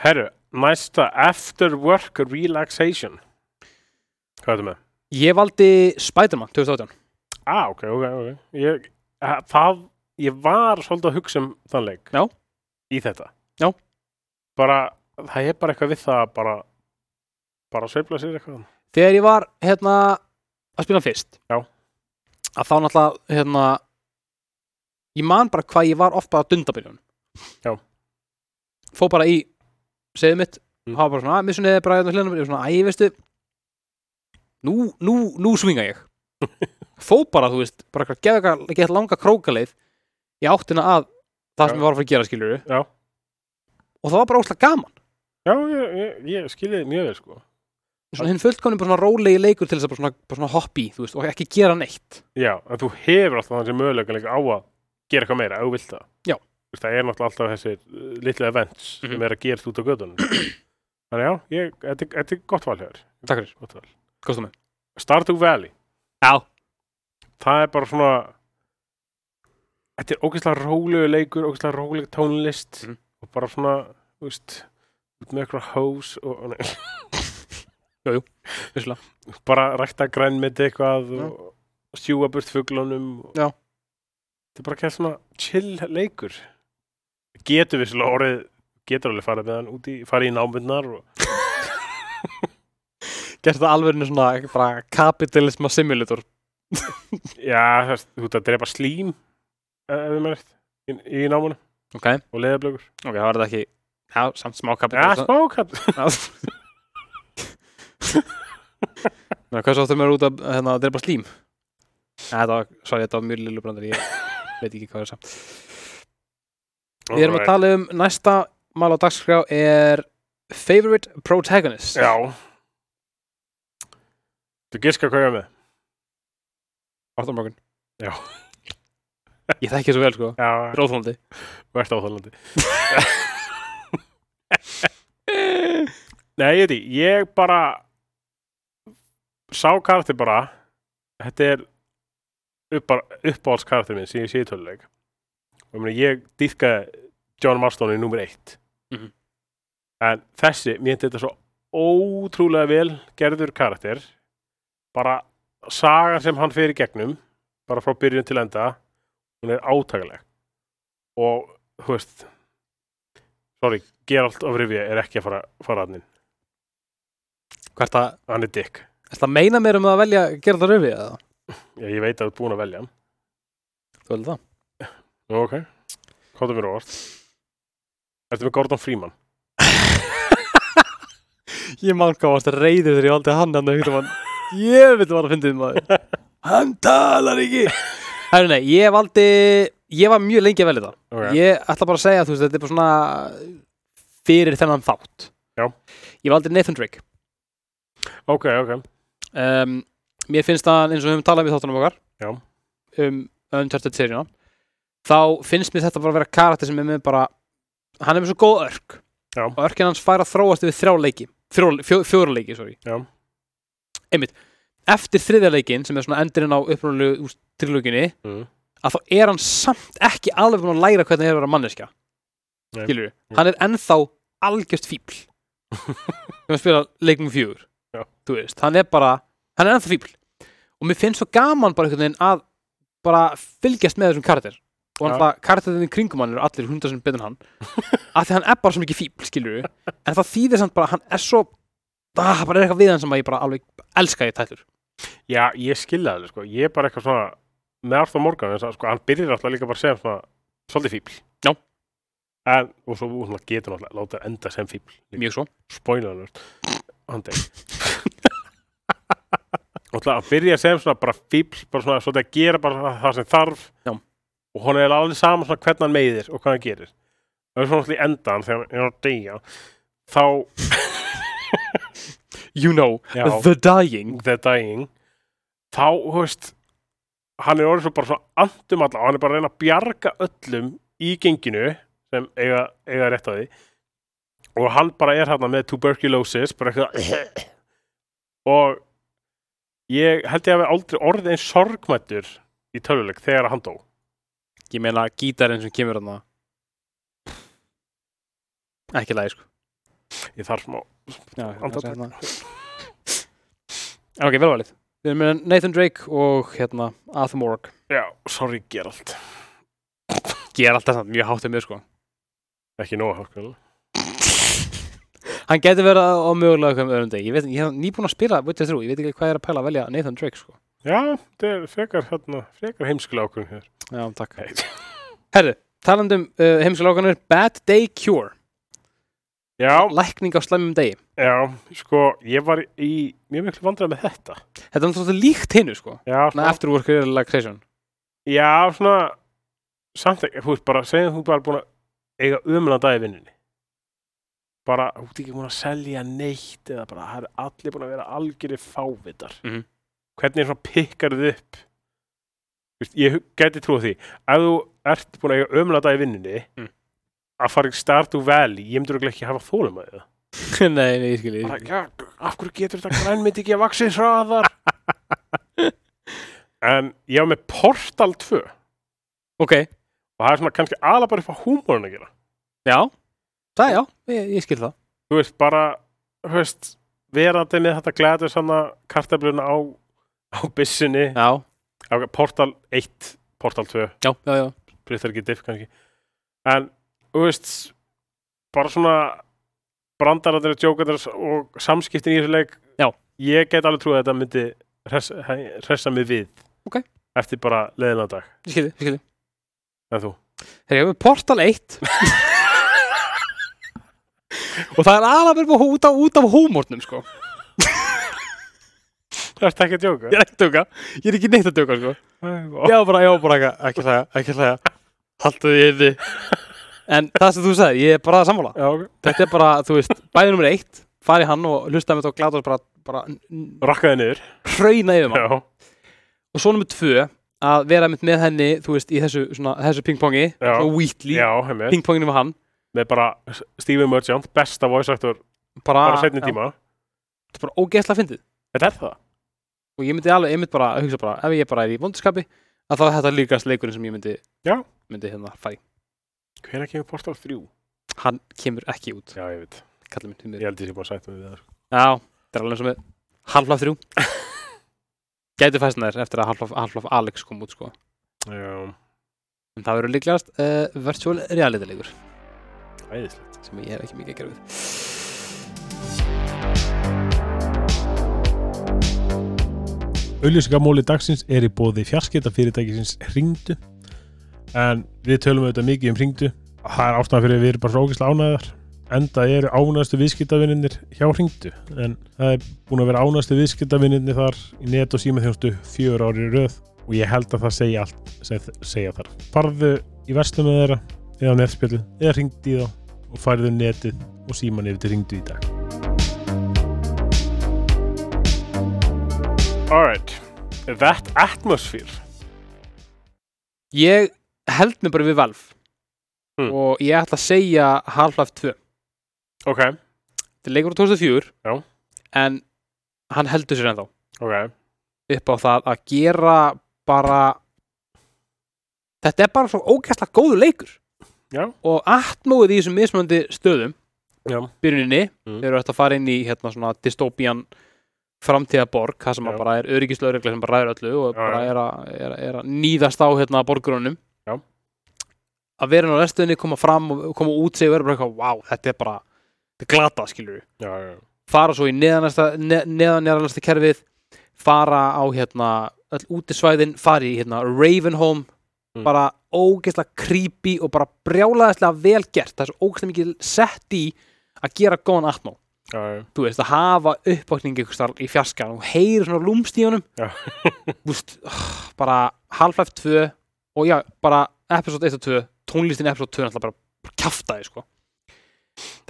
B: herru, næsta After Work Relaxation hvað er þetta með?
A: ég valdi Spiderman 2018
B: ah, ok, ok, ok ég, eh, það, ég var svolítið að hugsa um þann leik
A: Já.
B: í þetta
A: Já.
B: bara, það er bara eitthvað við það að bara, bara sveifla sér eitthvað
A: þegar ég var hérna að spila hann fyrst
B: Já.
A: að þá náttúrulega hérna ég man bara hvað ég var oft bara að dunda byrjun
B: Já.
A: fó bara í segðið mitt
B: Mm.
A: og hafa bara svona að missunni bara hérna hliðanum og svona æ, veistu nú, nú, nú svinga ég fó bara, þú veist, bara eitthvað gefa eitthvað geta langa krókaleið í áttina að það sem
B: Já.
A: ég var að fara að gera skiljuru
B: Já.
A: og það var bara óslega gaman
B: Já, ég, ég, ég skilji þið mjög vel sko.
A: svona hinn fullkomni bara svona rólegi leikur til þess að bara svona, bara svona hoppi, þú veist, og ekki gera neitt
B: Já, en þú hefur alltaf þannig möguleika líka á að gera eitthvað meira, ef þú vilt það.
A: Já.
B: Þú veist, Það er náttúrulega alltaf þessir uh, litlu events
A: Mhm.
B: sem er að gerast út á gödunum. Þannig já, ég, þetta, er- þetta er gott val hér.
A: Takk fyrir,
B: Gott val.
A: hvað stóðum við?
B: Stardew Valley,
A: Já,
B: það er bara svona, þetta er ógeðslega rólegu leikur, ógeðslega róleg tónlist
A: Mhm.
B: og bara svona, þú veist, út með eitthvað hós og, nei,
A: visslega
B: bara rækta grænmeti eitthvað og sjúga burt fuglunum og...
A: Mhm. Já.
B: þetta er bara ekki svona chill leikur getur við svolítið orðið getur alveg farið með hann út í farið í námyndnar og
A: Gerst það alveg svona ekki bara kapitalisma simulator
B: já, það, þú veist að drepa slím eh, ef við með rétt í, í námunum
A: Ok, ok,
B: og leðablökur
A: það var þetta ekki Já, samt smá
B: já,
A: kapitalisma
B: smákatt
A: Já. Ná, hvað svo áttum við út að hérna, að drepa slím? Nei, þetta var, sorry, þetta var mjög lillu brandar ég veit ekki hvað er samt Við erum að tala um næsta mál á dagskrá er Favorite Protagonist
B: já þú giska hvað ég er með
A: Orðamorgun
B: Já.
A: Ég þekki svo vel, sko
B: já,
A: Róðfóndi
B: verðt áþálandi Nei, ég veit ekki, ég bara sá karakter bara þetta er upp, uppáhalds karakter minn sem ég sé í töluleik og ég meina, ég dýrkaði John Marston í nummer eitt
A: Mhm.
B: en þessi, mér finnst þetta svo ótrúlega vel gerður karakter bara sagan sem hann fer í gegnum bara frá byrjun til enda hún er átakaleg og þú veist sorry, Geralt of Rivia er ekki að fara, fara hann
A: Hvert að
B: hann er dick
A: Það meina mér um að velja að gera það röfi eða?
B: Já, ég veit að þú ert búin að velja hann.
A: Þú veldur það?
B: Nú, ok. Kóta mér óvart. Ertu með Gordon Freeman?
A: Ég mann hvað varst reyður þegar ég valdi hann hann að hugta mann Ég veit var að fyndið maður Hann talar ekki Herru nei, ég valdi Ég var mjög lengi að velja það
B: Ok.
A: Ég ætla bara að segja, þú veist, þetta er bara svona fyrir þennan þátt
B: Já.
A: Ég valdi Nathan Drake
B: Ok, ok.
A: um, Mér finnst hann eins og við höfum talað við þáttunum okkar
B: Já.
A: um Uncharted seríuna þá finnst mér þetta bara að vera karakter sem er með bara hann er með svo góð örk
B: Já.
A: og örkin hans fær að þróast yfir þrjá leiki þrjó, fjó, fjóra leiki, sorry
B: Já.
A: einmitt, eftir þriðja leikin sem er svona endurinn á upprunalegu trilóginni
B: Mm.
A: að þá er hann samt ekki alveg búin að læra hvernig það er að vera manneskja
B: Nei.
A: skilur við,
B: Mm.
A: hann er ennþá algjört fíbl þegar að spila leikum fjögur
B: Já.
A: þú veist, hann er bara, hann er ennþá fíbl og mér finnst svo gaman bara einhvern veginn að bara fylgjast með þessum karakter og hann
B: Já.
A: það karakterinn í kringum hann eru allir hundar sem betur en hann að því hann er bara svo mikið fíbl, skilur við en það þýðir samt bara, að hann er svo það bara er eitthvað við hann sem að ég bara alveg elska í tættur
B: Já, ég skilja það, sko. Ég er bara eitthvað svona, með Arthur Morgan, þess að, sko, hann byrjir alltaf líka bara að segja svona, svolítið fíbl.
A: Já.
B: En, og svo hún getur náttúrulega láta enda sem fíbl.
A: mjög svo,
B: Spoiler alert. Hann deg. Og það að byrja sem svona bara fíbl, bara svona, svona að gera bara það sem þarf.
A: Já.
B: Og hún er alveg saman svona hvernig hann meiðir og hvað hann gerir. Það er svona allir endan þegar hann er að deyja. þá
A: You know,
B: já, the,
A: the dying
B: Dying þá, þú veist hann er orðið svo bara svona andum alla og hann er bara að reyna að bjarga öllum í genginu sem eiga, eiga rétt á því og hann bara er hérna með tuberculosis bara eitthvað og ég held ég að við aldrei orðið eins sorgmættur í töluleik þegar hann dó
A: Ég meina gítarinn sem kemur hann Ekki lægi sko
B: ég þarf smá
A: Já,
B: Andartak.
A: hérna. En ok, velvalið Við erum með Nathan Drake og hérna Arthur Morg
B: já, sorry Geralt
A: Ger alltaf samt mjög hátt um mér sko
B: ekki nóg hákvæl
A: Hann getur verið á á mögulega eitthvað um öðrum deg Ég veit, ég hef nýbúin að spila Witcher 3 Ég veit ekki hvað ég er að pæla að velja Nathan Drake sko
B: já, þetta er frekar, hérna, frekar heimskulega ákvörðum hér
A: Já, takk Herðu, talandum uh, heimskulákanir Bad Day Cure
B: já,
A: Lækning á slæmum degi
B: Já, sko, ég var í mjög miklu vandræð með þetta.
A: Þetta er náttúrulega líkt hinnu sko
B: Já,
A: Svona
B: svona,
A: afterwork relaxation
B: já, svona samt ekki, þú veist, bara segjum þú bara búin að eiga umlega dag í vinnunni. Bara, þú ert ekki búin að selja neitt eða bara, það er allir búin að vera algjörði fávitar.
A: Mhm.
B: Hvernig svona pikkar þið upp? Þú Veist, ég gæti trúið því, ef þú ert búin að eiga umlega dag í vinnunni,
A: Mm.
B: að fara ekki startu vel, ég myndi örugglega ekki að hafa þólum að það.
A: Nei, nei, ég skil ég
B: bara,
A: skil.
B: já, af hverju getur þetta grænmynd ekki að vaksin hraðar en ég var með Portal 2 og
A: Ok,
B: það er svona kannski aðla bara upp á húmórun að gera
A: já Það, já, ég, ég skil það
B: þú veist, bara, þú veist verandi með þetta glæður svona kartabluna á, á byssunni
A: Já,
B: á, Portal 1, Portal 2
A: já, já, já.
B: breytar ekki diff kannski en, þú veist bara svona brandararnir, jókarnir og samskiptin í þessu leik
A: Já.
B: ég get alveg trúið að þetta myndi hressa, hæ- hressa mig við
A: Ok.
B: eftir bara leðina dag
A: Ég skil þið, ég skil þið
B: en þú
A: Þegar ég hef með Portal 1 Og það er alveg bara út af, út af húmórnum sko
B: Það ert ekki að jóka
A: Ég er ekki að döka, ég er ekki neitt að döka sko
B: yeah.
A: Já, bara, já, bara ekki, ekki hlæja, ekki hlæja Haltu því inni En það sem þú sagði, ég er bara að sammála
B: Já, ok
A: Þetta er bara, þú veist, bæði nummer 1 Fari hann og hlusta með þetta og glata bara, bara n- n-
B: Rakkaði niður
A: hrauna yfir mann
B: Já,
A: og svo nummer tvö að vera mynd með henni þú veist, í þessu, svona, þessu pingpongi
B: Já.
A: og Wheatley,
B: já hemmið
A: pingponginu með hann
B: Með bara Steve Merchant, besta voice actor
A: bara,
B: bara setni
A: já,
B: tíma
A: þetta er bara ógeðslega fyndið
B: Ah, Þetta er það
A: og ég myndi alveg, ég myndi bara hugsa bara ef ég bara er í vondaskapi, að þá er þetta líkast leikurinn sem ég myndi,
B: Já.
A: myndi hérna fæ
B: Hvenær kemur Portal 3?
A: hann kemur ekki út,
B: Já, ég veit
A: kallið minn því miður.
B: Ég held ég sé búin að sæta mig við það sko.
A: já, þetta er alveg eins og með Half-Life 3 gæti fæst nær eftir að Half-Life Half Alex kom út sko
B: Já,
A: en það verður líklegast uh, virtual reality leikur
B: æðislegt
A: sem ég hef ekki mikið að gera við
B: Auðlýsingamóli dagsins er í bóði fjarskita fyrirtækisins Hringdu en við tölum auðvitað mikið um Hringdu það er ástæðan fyrir að við erum bara rókislega ánæðar enda eru ánæðastu viðskiptavininir hjá Hringdu en það er búin að vera ánæðastu viðskiptavininir þar í net og símaþjónustu fjör ári röð og ég held að það segja allt sem þ- segja þar farðu í verslum með þeirra eða á netspjölu eða Hringdu í þá og færðu netið og síman yfir til Hringdu í dag Alright, that atmosphere
A: Ég held mig bara við Valve
B: Hmm.
A: og ég ætla að segja Half-Life 2
B: Ok,
A: Þetta er leikur á 2004
B: Já.
A: en hann heldur sér ennþá
B: ok
A: upp á það að gera bara þetta er bara svo ógæslega góður leikur
B: Já.
A: og atmóið í þessum mismunandi stöðum
B: Já.
A: byrjuninni
B: Mm.
A: þeir eru hægt að fara inn í hérna svona dystopian framtíðaborg, það sem
B: Já.
A: að bara er öryggislaurugla sem bara ræður öllu og
B: Já,
A: bara er að, er, að- er að nýðast á hérna borgrunum
B: Já.
A: að vera inn á restunni, koma fram og koma út sig og vera bara eitthvað, wow, þetta er bara þetta er glata, skilur
B: já, já.
A: fara svo í neðanjarðasta ne, neðanjarðasta kerfið fara á hérna öll útisvæðin, fara í hérna Ravenholm,
B: Mm.
A: bara ógeðslega creepy og bara brjálaðislega vel gert, það er svo ógeðslega mikið sett í að gera góðan atmó
B: já, já.
A: þú veist, að hafa uppvakning ykkur starf í fjarskan og heyri svona lúmst í honum
B: Já.
A: Þú veist, ah, bara Half-Life 2 og já, bara episode 1 og 2 tónlistin í episode 2 er alltaf bara, bara kjaftaði sko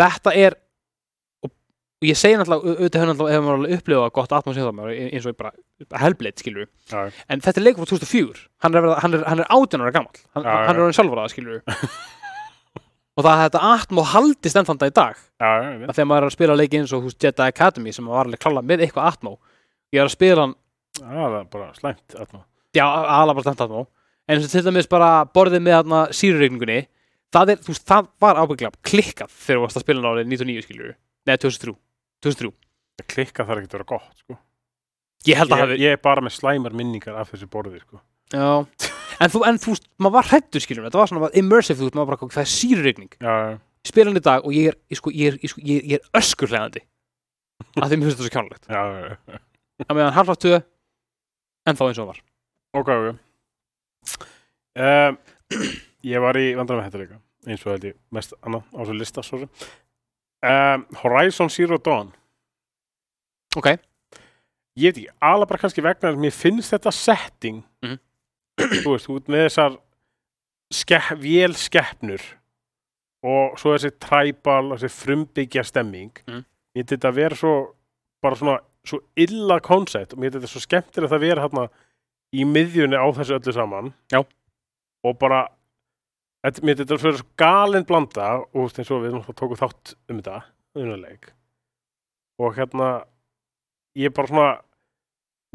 A: þetta er og ég segi náttúrulega, au- auðvitað hefur náttúrulega hefur maður alveg upplifað gott atmosfér eins og ég bara, bara helbleit skilur
B: Já.
A: en þetta er leikur frá 2004 hann er, að verða- hann er, hann er 18 ára gamall hann,
B: Já, já.
A: hann er orðin sjálfur aða skilur og það að þetta atmo haldist ennfanda í dag
B: Já, já, ég veit.
A: að þegar maður er að spila leiki eins og hús Jedi Academy sem var alveg klála með eitthvað atmo ég er að spila hann,
B: Já, það er bara slæmt atma.
A: já, alveg bara stemt atmo en eins og til dæmis bara borðið með þarna sírurregningunni, það er, þú veist, það var ábygglega klikkað þegar þú varst að spila hann árið 99 skilur, neða 2003 2003,
B: Klikka þarf ekki að vera gott, sko.
A: ég held að
B: Ég,
A: hafi
B: ég er bara með slæmar minningar af þessu borði, sko.
A: já, en þú, en þú, veist, maður var hrættur skilur, þetta var svona maður immersive, þú veist, maður bara, það er sírurregning
B: Já, já.
A: spila hann í dag og ég er, ég sko, ég er, ég sko, ég er, ég er öskurlegandi að því mér finnst þetta svo kjánulegt
B: já, já, já.
A: að meðan Half-Life 2 en eins og hann var
B: Ok, ok. Um, ég var í vandrar með þetta líka. Eins og held ég mest annað á þessu lista, svo sem. Um, Horizon Zero Dawn.
A: ok,
B: ég veit ekki, alveg bara kannski vegna þess að mér finnst þetta setting
A: Mhm.
B: þú veist, út með þessar skef, vél skeppnur og svo þessi tribal, þessi frumbyggja stemming
A: Mhm.
B: mér finnst þetta að vera svo bara svona, svo illa koncept og mér finnst þetta svo skemmtilegt að vera hérna í miðjunni á þessu öllu saman
A: Já.
B: og bara þetta, mér finnst þetta svo, svo galin blanda og þú veist, eins og við náttúrulega tókum þátt um þetta unnarleik og hérna ég bara svona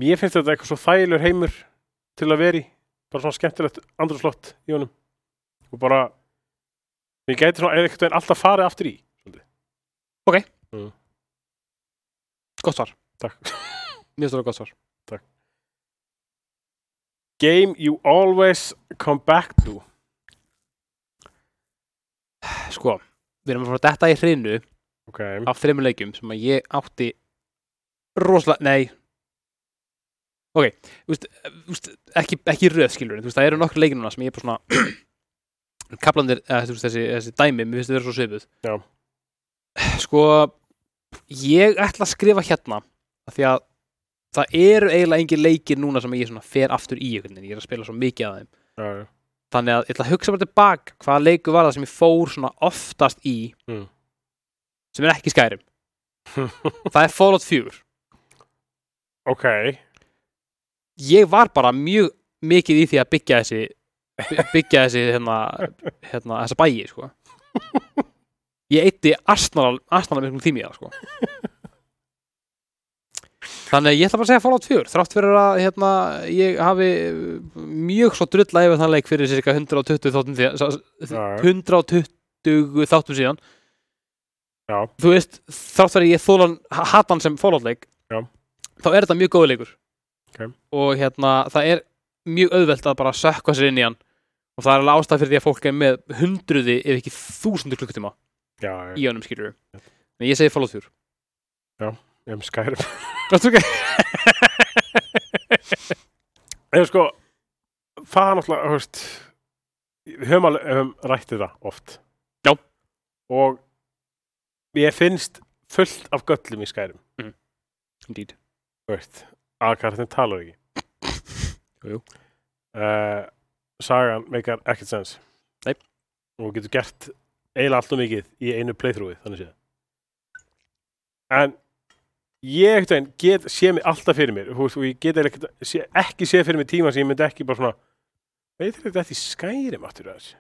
B: mér finnst þetta eitthvað svo þægilegur heimur til að veri, bara svona skemmtilegt andrúslott í honum og bara ég gæti svona eitthvað en alltaf farið aftur í
A: gott svar
B: Takk.
A: mjög stóra gott svar
B: Game you always come back to
A: sko, við erum að fara að detta í hrinu
B: ok,
A: af þreymur leikjum sem að ég átti rosalega, nei ok, þú veist, þú veist, ekki, ekki röð skilur en þú veist, það eru nokkur leikir núna sem ég er bara svona kaplandir, eða, þú veist, þessi, þessi dæmi mér finnst þið vera svo svipuð
B: Já.
A: sko ég ætla að skrifa hérna af því að það eru eiginlega engin leikir núna sem ég svona fer aftur í einhvern veginn, ég er að spila svo mikið af þeim
B: já, já,
A: þannig að ég ætla að hugsa bara tilbaka hvaða leiku var það sem ég fór svona oftast í
B: Mm.
A: sem er ekki skærim það er Fallout 4
B: ok
A: ég var bara mjög mikið í því að byggja þessi by- byggja þessi hérna, hérna þessa bæi sko ég eitti Arsenal Arsenal miklum tími í það sko þannig að ég ætla bara að segja Fallout 4 þrátt fyrir að hérna ég hafi uh, mjög svo drulla yfir þann leik fyrir cirka 120 þáttum því
B: já, já,
A: 120 þáttum síðan
B: Já.
A: þú veist, þrátt verið ég þólan hatan sem fólátleik
B: Já.
A: þá er þetta mjög góð leikur
B: Ok.
A: og hérna, það er mjög auðvelt að bara sökka sér inn í hann og það er alveg ástæð fyrir því að fólk er með hundruði ef ekki þúsundur klukkutíma
B: já, já,
A: í honum skilur en ég segi Fallout 4
B: ég hef skærum
A: Þetta okay.
B: eða sko það er náttúrulega, þú veist við höfum alveg höfum rætt þetta oft
A: Já.
B: og ég finnst fullt af göllum í skærum
A: Indeed.
B: Þú veist, aðkartin talar ekki
A: Jú, jú.
B: Eh, Sagan meikar ekkert sens
A: Nei.
B: Og þú getur gert eiginlega allt og mikið í einu playthroughi, þannig séð En ég ekkert veginn get, sé mig alltaf fyrir mér þú veist, og ég get eiginlega ekkert- sé, ekki sé fyrir mér tíma sem ég myndi ekki bara svona veit þetta þetta í skærim aftur þess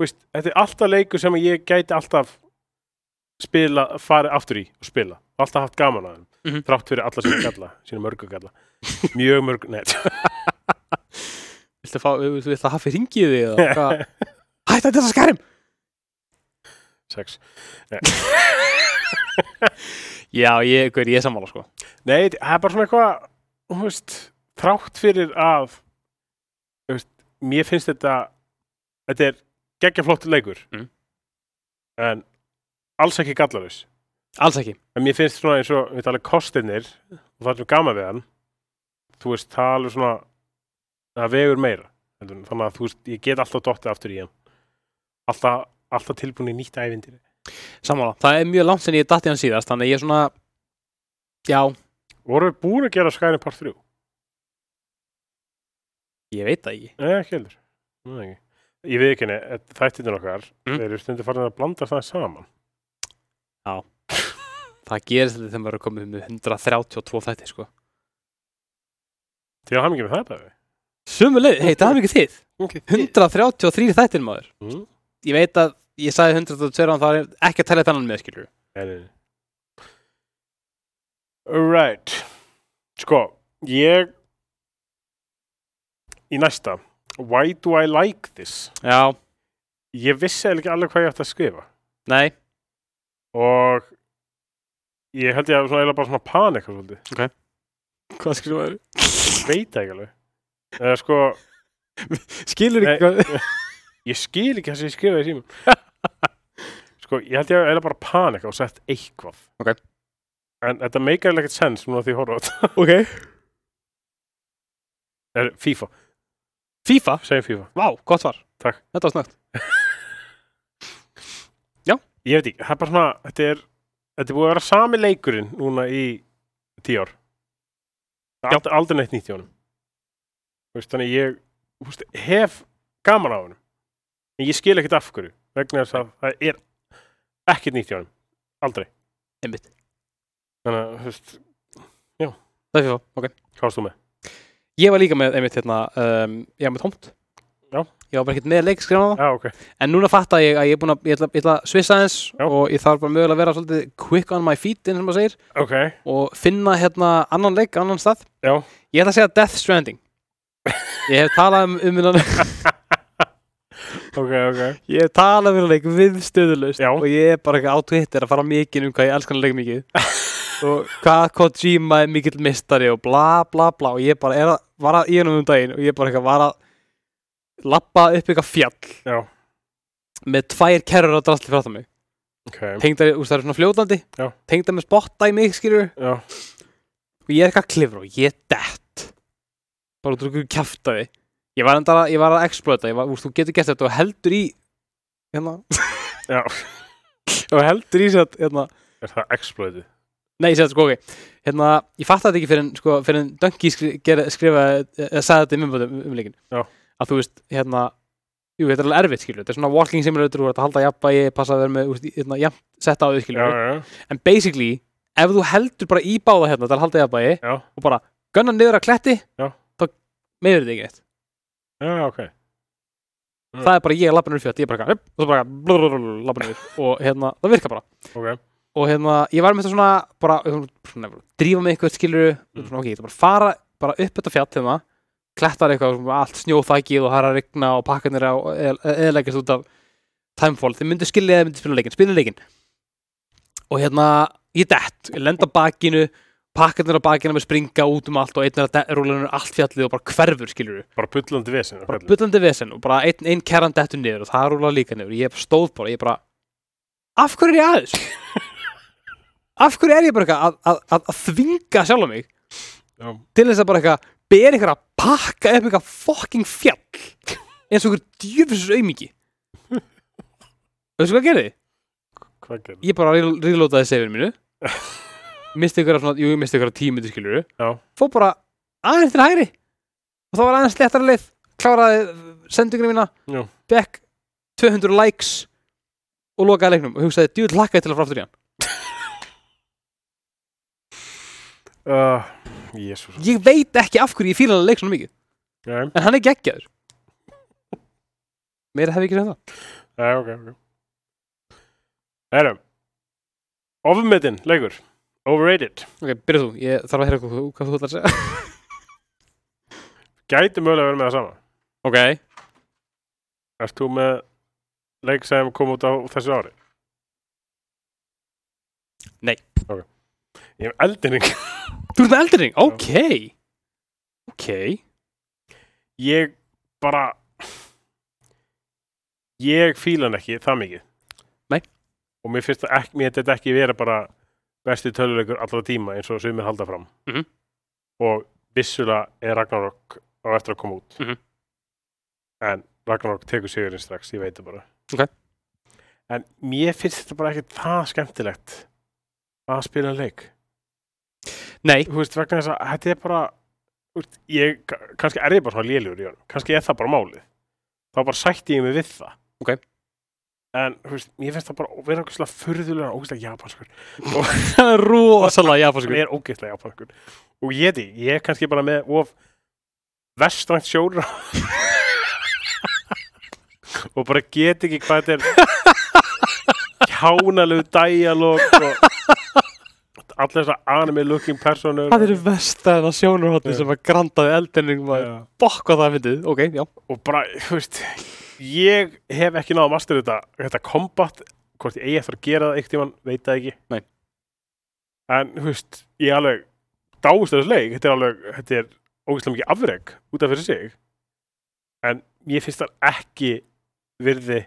B: veist, Þetta er alltaf leikur sem ég gæti alltaf spila, farið aftur í og spila alltaf haft gaman að þeim
A: Mhm.
B: þrátt fyrir alla sína galla, sína mörgu galla mjög mörg, nei
A: Viltu, fá, viltu, viltu að hafa hringið í því eða hvað? Hætt að þetta skærim
B: sex
A: Já, ég, hver, ég er sammála sko
B: Nei, það er bara svona eitthvað þú veist, þrátt fyrir að þú veist, mér finnst þetta þetta er geggjaflott leikur
A: Mhm.
B: en alls ekki gallarus
A: Alls ekki
B: en mér finnst svona eins og við tala kostinir og það er svona gaman við hann þú veist, það er alveg svona það vegur meira heldur en- þannig að þú veist, ég get alltaf dottið aftur í hann alltaf, alltaf tilbúin í nýtt ævindir
A: Sammála, það er mjög langt sem ég datt í hann síðast þannig að ég er svona já,
B: voru við búin að gera Skyrim Part 3?
A: ég veit það ekki
B: Nei, ekki heldur Nei, ekki. Ég veit ekki henni, þættinir okkar
A: Mm.
B: þeir eru stundu farin að blanda það saman
A: það gerist þetta þegar maður er komið með 132 þætti sko
B: Til að hafa mikið með það bara
A: Sumuleið, hei, það er mikið þið
B: okay.
A: 133 þættir maður
B: Mm.
A: Ég veit að ég sagði 122 án, það er ekki að tala þannan með skilur
B: Nei, Alright Sko, ég Í næsta Why do I like this?
A: Já,
B: Ég vissi eiginlega ekki alveg hvað ég ætti að skrifa
A: nei,
B: og ég held ég að svona eiginlega bara svona panika svolítið
A: hvað skilur maður?
B: veit það ekki alveg eða sko,
A: Skilur
B: Nei.
A: ekki hvað
B: ég skil ekki það sem ég skrifaði í símum sko, ég held ég að eiginlega bara panika og sett eitthvað
A: Ok.
B: en þetta meikar eiginlega ekkert sens núna því ég horfa á þetta
A: Ok
B: Er- FIFA,
A: FIFA,
B: segjum FIFA
A: vá, gott var
B: Takk.
A: Þetta var snögt
B: ég veit ekki, það er bara svona þetta er, þetta er búið að vera sami leikurinn núna í tíu ár Það er aldrei, aldrei neitt nýtt í honum Þú veist, þannig ég þú veist, hef gaman á honum en ég skil ekkert af hverju vegna þess að það er ekkert nýtt í honum, aldrei
A: Einmitt,
B: þannig að, þú veist,
A: það er FIFA, ok
B: hvað varst þú með?
A: Ég var líka með, einmitt, hérna, um, ég var með tómt
B: Já.
A: Ég var bara ekkert með leikskrifa
B: Já, ok,
A: En núna fattar ég að ég er búin að, ég ætla, ég ætla að svissa aðeins
B: Já.
A: og ég þarf bara mögulega að vera svolítið quick on my feet, eins og maður segir,
B: ok,
A: og finna hérna annan leik, annan stað.
B: Já.
A: Ég ætla að segja Death Stranding. Ég hef talað um umvinnan,
B: ok, ok
A: ég hef talað um umvinnan leik við stöðulust
B: Já.
A: og ég er bara eitthvað á Twitter að fara mikið um hvað ég elskan að leika mikið og hvað Kojima er mikill mistari og bla bla bla og ég bara er að, var að í hennum um daginn og ég bara eitthvað var að lappa upp eitthvað fjall
B: Já.
A: með tvær kerrur á drastli frá það mig
B: ok,
A: tengdar, úst, það er svona fljótandi
B: Já.
A: tengdar með spotta í mig, skilur
B: já,
A: og ég er eitthvað klifur og ég er dett bara út úr ykkur kjaftaði ég var, endara, ég var að exploita, ég var, úst, þú getur gert þetta og heldur í hérna
B: já
A: og heldur í sér hérna,
B: er það exploitið?
A: nei, sér sko, ok hérna, ég fatt þetta ekki fyrir en, sko, fyrir en Dunky skri, gera, skrifa eða eh, sagði þetta í umbúðum umleikin
B: Já.
A: að þú veist, hérna jú, þetta er alveg erfitt, skilur, þetta er svona walking simulator þú ert að halda jafnbæi, passa að vera með, úst, hérna, jafn sett á því,
B: Já,
A: skilur,
B: já,
A: en basically ef þú heldur bara í báða hérna til að halda jafnbæi
B: já,
A: og bara gunna niður að kletti
B: Já.
A: þá meður þetta ekki neitt
B: já, já, ok Mm.
A: það er bara ég að lappa niður fjöld, ég bara upp, og svo bara blurururur, lappa niður og hérna, það virkar bara
B: ok,
A: og hérna, ég var með þetta svona bara, svona, drífa með eitthvað skilur
B: Mm.
A: svona, ok, ég ætla bara að fara bara upp þetta fjall hérna, klettar eitthvað svona, allt snjóþækið og það er að rigna og pakkanir á eðleggjast út af Timefall, þið myndu skilja eða myndu spila leikinn, spila leikinn og hérna, ég dett, ég lenda bakinu pakkanir á bakinu með springa út um allt og einn er að rúlunum allt fjallið og bara hverfur skilur
B: bara bullandi vesinn
A: bara bullandi vesen og bara einn ein kerran dettur niður og það rúla líka niður ég stóð bara, ég bara af hverju er ég aðeins? af hverju er ég bara eitthvað að, að, að, að þvinga sjálf mig
B: Já.
A: til þess að bara eitthvað ber eitthvað að pakka upp eitthvað fucking fjall eins og eitthvað djöfis aumingi veistu hvað gerði?
B: Hvað gerði?
A: ég bara ríðlótaði sefinu mínu misti ykkur svona, jú, ég misti ykkur tímyndir skilur
B: Já.
A: fór bara aðeins til hægri og þá var aðeins léttara leið kláraði sendinginu mína
B: Já.
A: bekk 200 likes og lokaði leiknum og hugsaði djúið lakkaði til að fara aftur í hann
B: Uh, Jésús
A: ég veit ekki af hverju ég fíla hann leik svona mikið
B: Já,
A: en hann er geggjaður meira hef ég ekki segð það
B: já, ok, ok Erum Ofurmetinn, leikur Overrated
A: ok, byrja þú, ég þarf að heyra hvað, þú- hvað þú ætlar að segja
B: Gæti mögulega verið með það sama
A: ok,
B: Ert þú með leik sem kom út á þessu ári?
A: Nei.
B: Ok Ég hef eldinning
A: þú ert með eldring, ok ok,
B: Ég bara Ég fíla hann ekki það mikið
A: Nei.
B: Og mér finnst það ekki, mér þetta ekki vera bara besti töluleikur allra tíma eins og sumir halda fram
A: Mhm.
B: og vissulega er Ragnarok á eftir að koma út
A: Mhm.
B: en Ragnarok tekur sigurinn strax ég veit það bara
A: Ok.
B: En mér finnst þetta bara ekki það skemmtilegt að spila leik
A: nei
B: þú veist, vegna þess að þetta er bara þú veist, ég, ka- kannski er ég bara svona lélugur í honum kannski er það bara málið þá bara sætti ég mig við það
A: Ok.
B: en þú veist, ég finnst það bara að vera okkur furðulega ógeðslega japanskur
A: rosalega
B: hann
A: japanskur
B: er ógeðslega japanskur og ég því, ég er kannski bara með of vestrænt sjóra og bara get ekki hvað þetta er hjánalegu dæjalog og allir þessar anime looking personur
A: það eru vestæðina sjónurhóttin
B: Já.
A: sem að grandaði eldinning maður
B: Já.
A: bokk hvað það fyndið, ok, já
B: og bara, þú veist ég hef ekki náða master þetta þetta combat, hvort ég eigi eftir að gera það eitt tímann, veit það ekki
A: Nei.
B: en, þú veist, ég alveg dáist þessu leik, þetta er alveg þetta er ógeðslega mikið afreg út af fyrir sig en ég finnst það ekki virði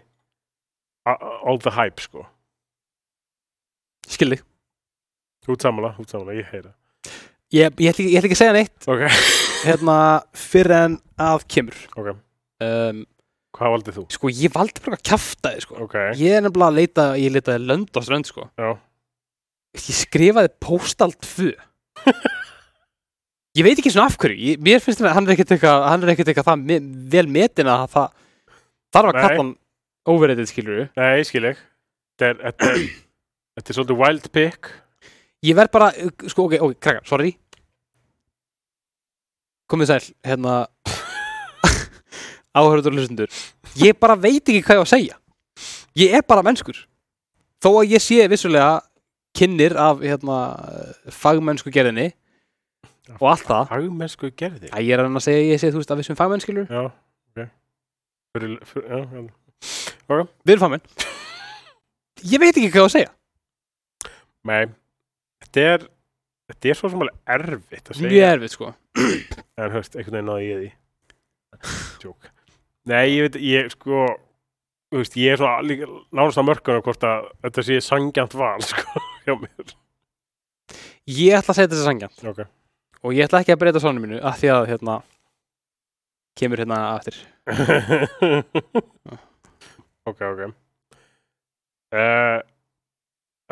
B: a- a- all the hype, sko
A: skildi,
B: þú ert sammála, þú ert sammála, ég heyra
A: ég, ég, ætla ekki- ég ætla ekki að segja neitt
B: ok,
A: hérna, fyrir en að kemur
B: ok,
A: um,
B: hvað valdið þú?
A: sko, ég valdi bara að kjafta þið, sko
B: ok,
A: ég er nefnilega að leita, ég leitaði lönd og strönd, sko
B: já,
A: ég skrifaði Postal 2 ég veit ekki svona af hverju ég, mér finnst þetta, hann er ekkert eitthvað hann er ekkert eitthvað það me, vel metin að það þarf að
B: Nei.
A: kalla hann overrated skilur
B: nei, skil ég þetta er, þetta er, þetta er svolítið wild pick
A: ég verð bara, sko, ok, ok, krakkar, sorry komið sæl, hérna áhörður og hlustundur ég bara veit ekki hvað ég á að segja ég er bara mennskur þó að ég sé vissulega kynnir af, hérna, fagmennsku gerðinni og allt það
B: hagmennsku gerði
A: Æ, ég er að reyna að segja, ég sé, þú veist, að við sem fagmenn skilur
B: Já, ok fyrir, fyrir, já, já.
A: Við erum fagmenn Ég veit ekki hvað ég á að segja
B: Nei, þetta er þetta er svo sem alveg erfitt að
A: Mjög
B: segja
A: erfið, sko
B: en höfst, einhvern veginn náði ég því Jók Nei, ég veit, ég sko þú veist, ég er svona líka nánast að mörkunum hvort að þetta sé sangjant val sko, hjá mér
A: Ég ætla að segja þessi sangja
B: Ok,
A: Og ég ætla ekki að breyta svona mínu Af því að, hérna Kemur hérna aftur
B: ok, ok uh,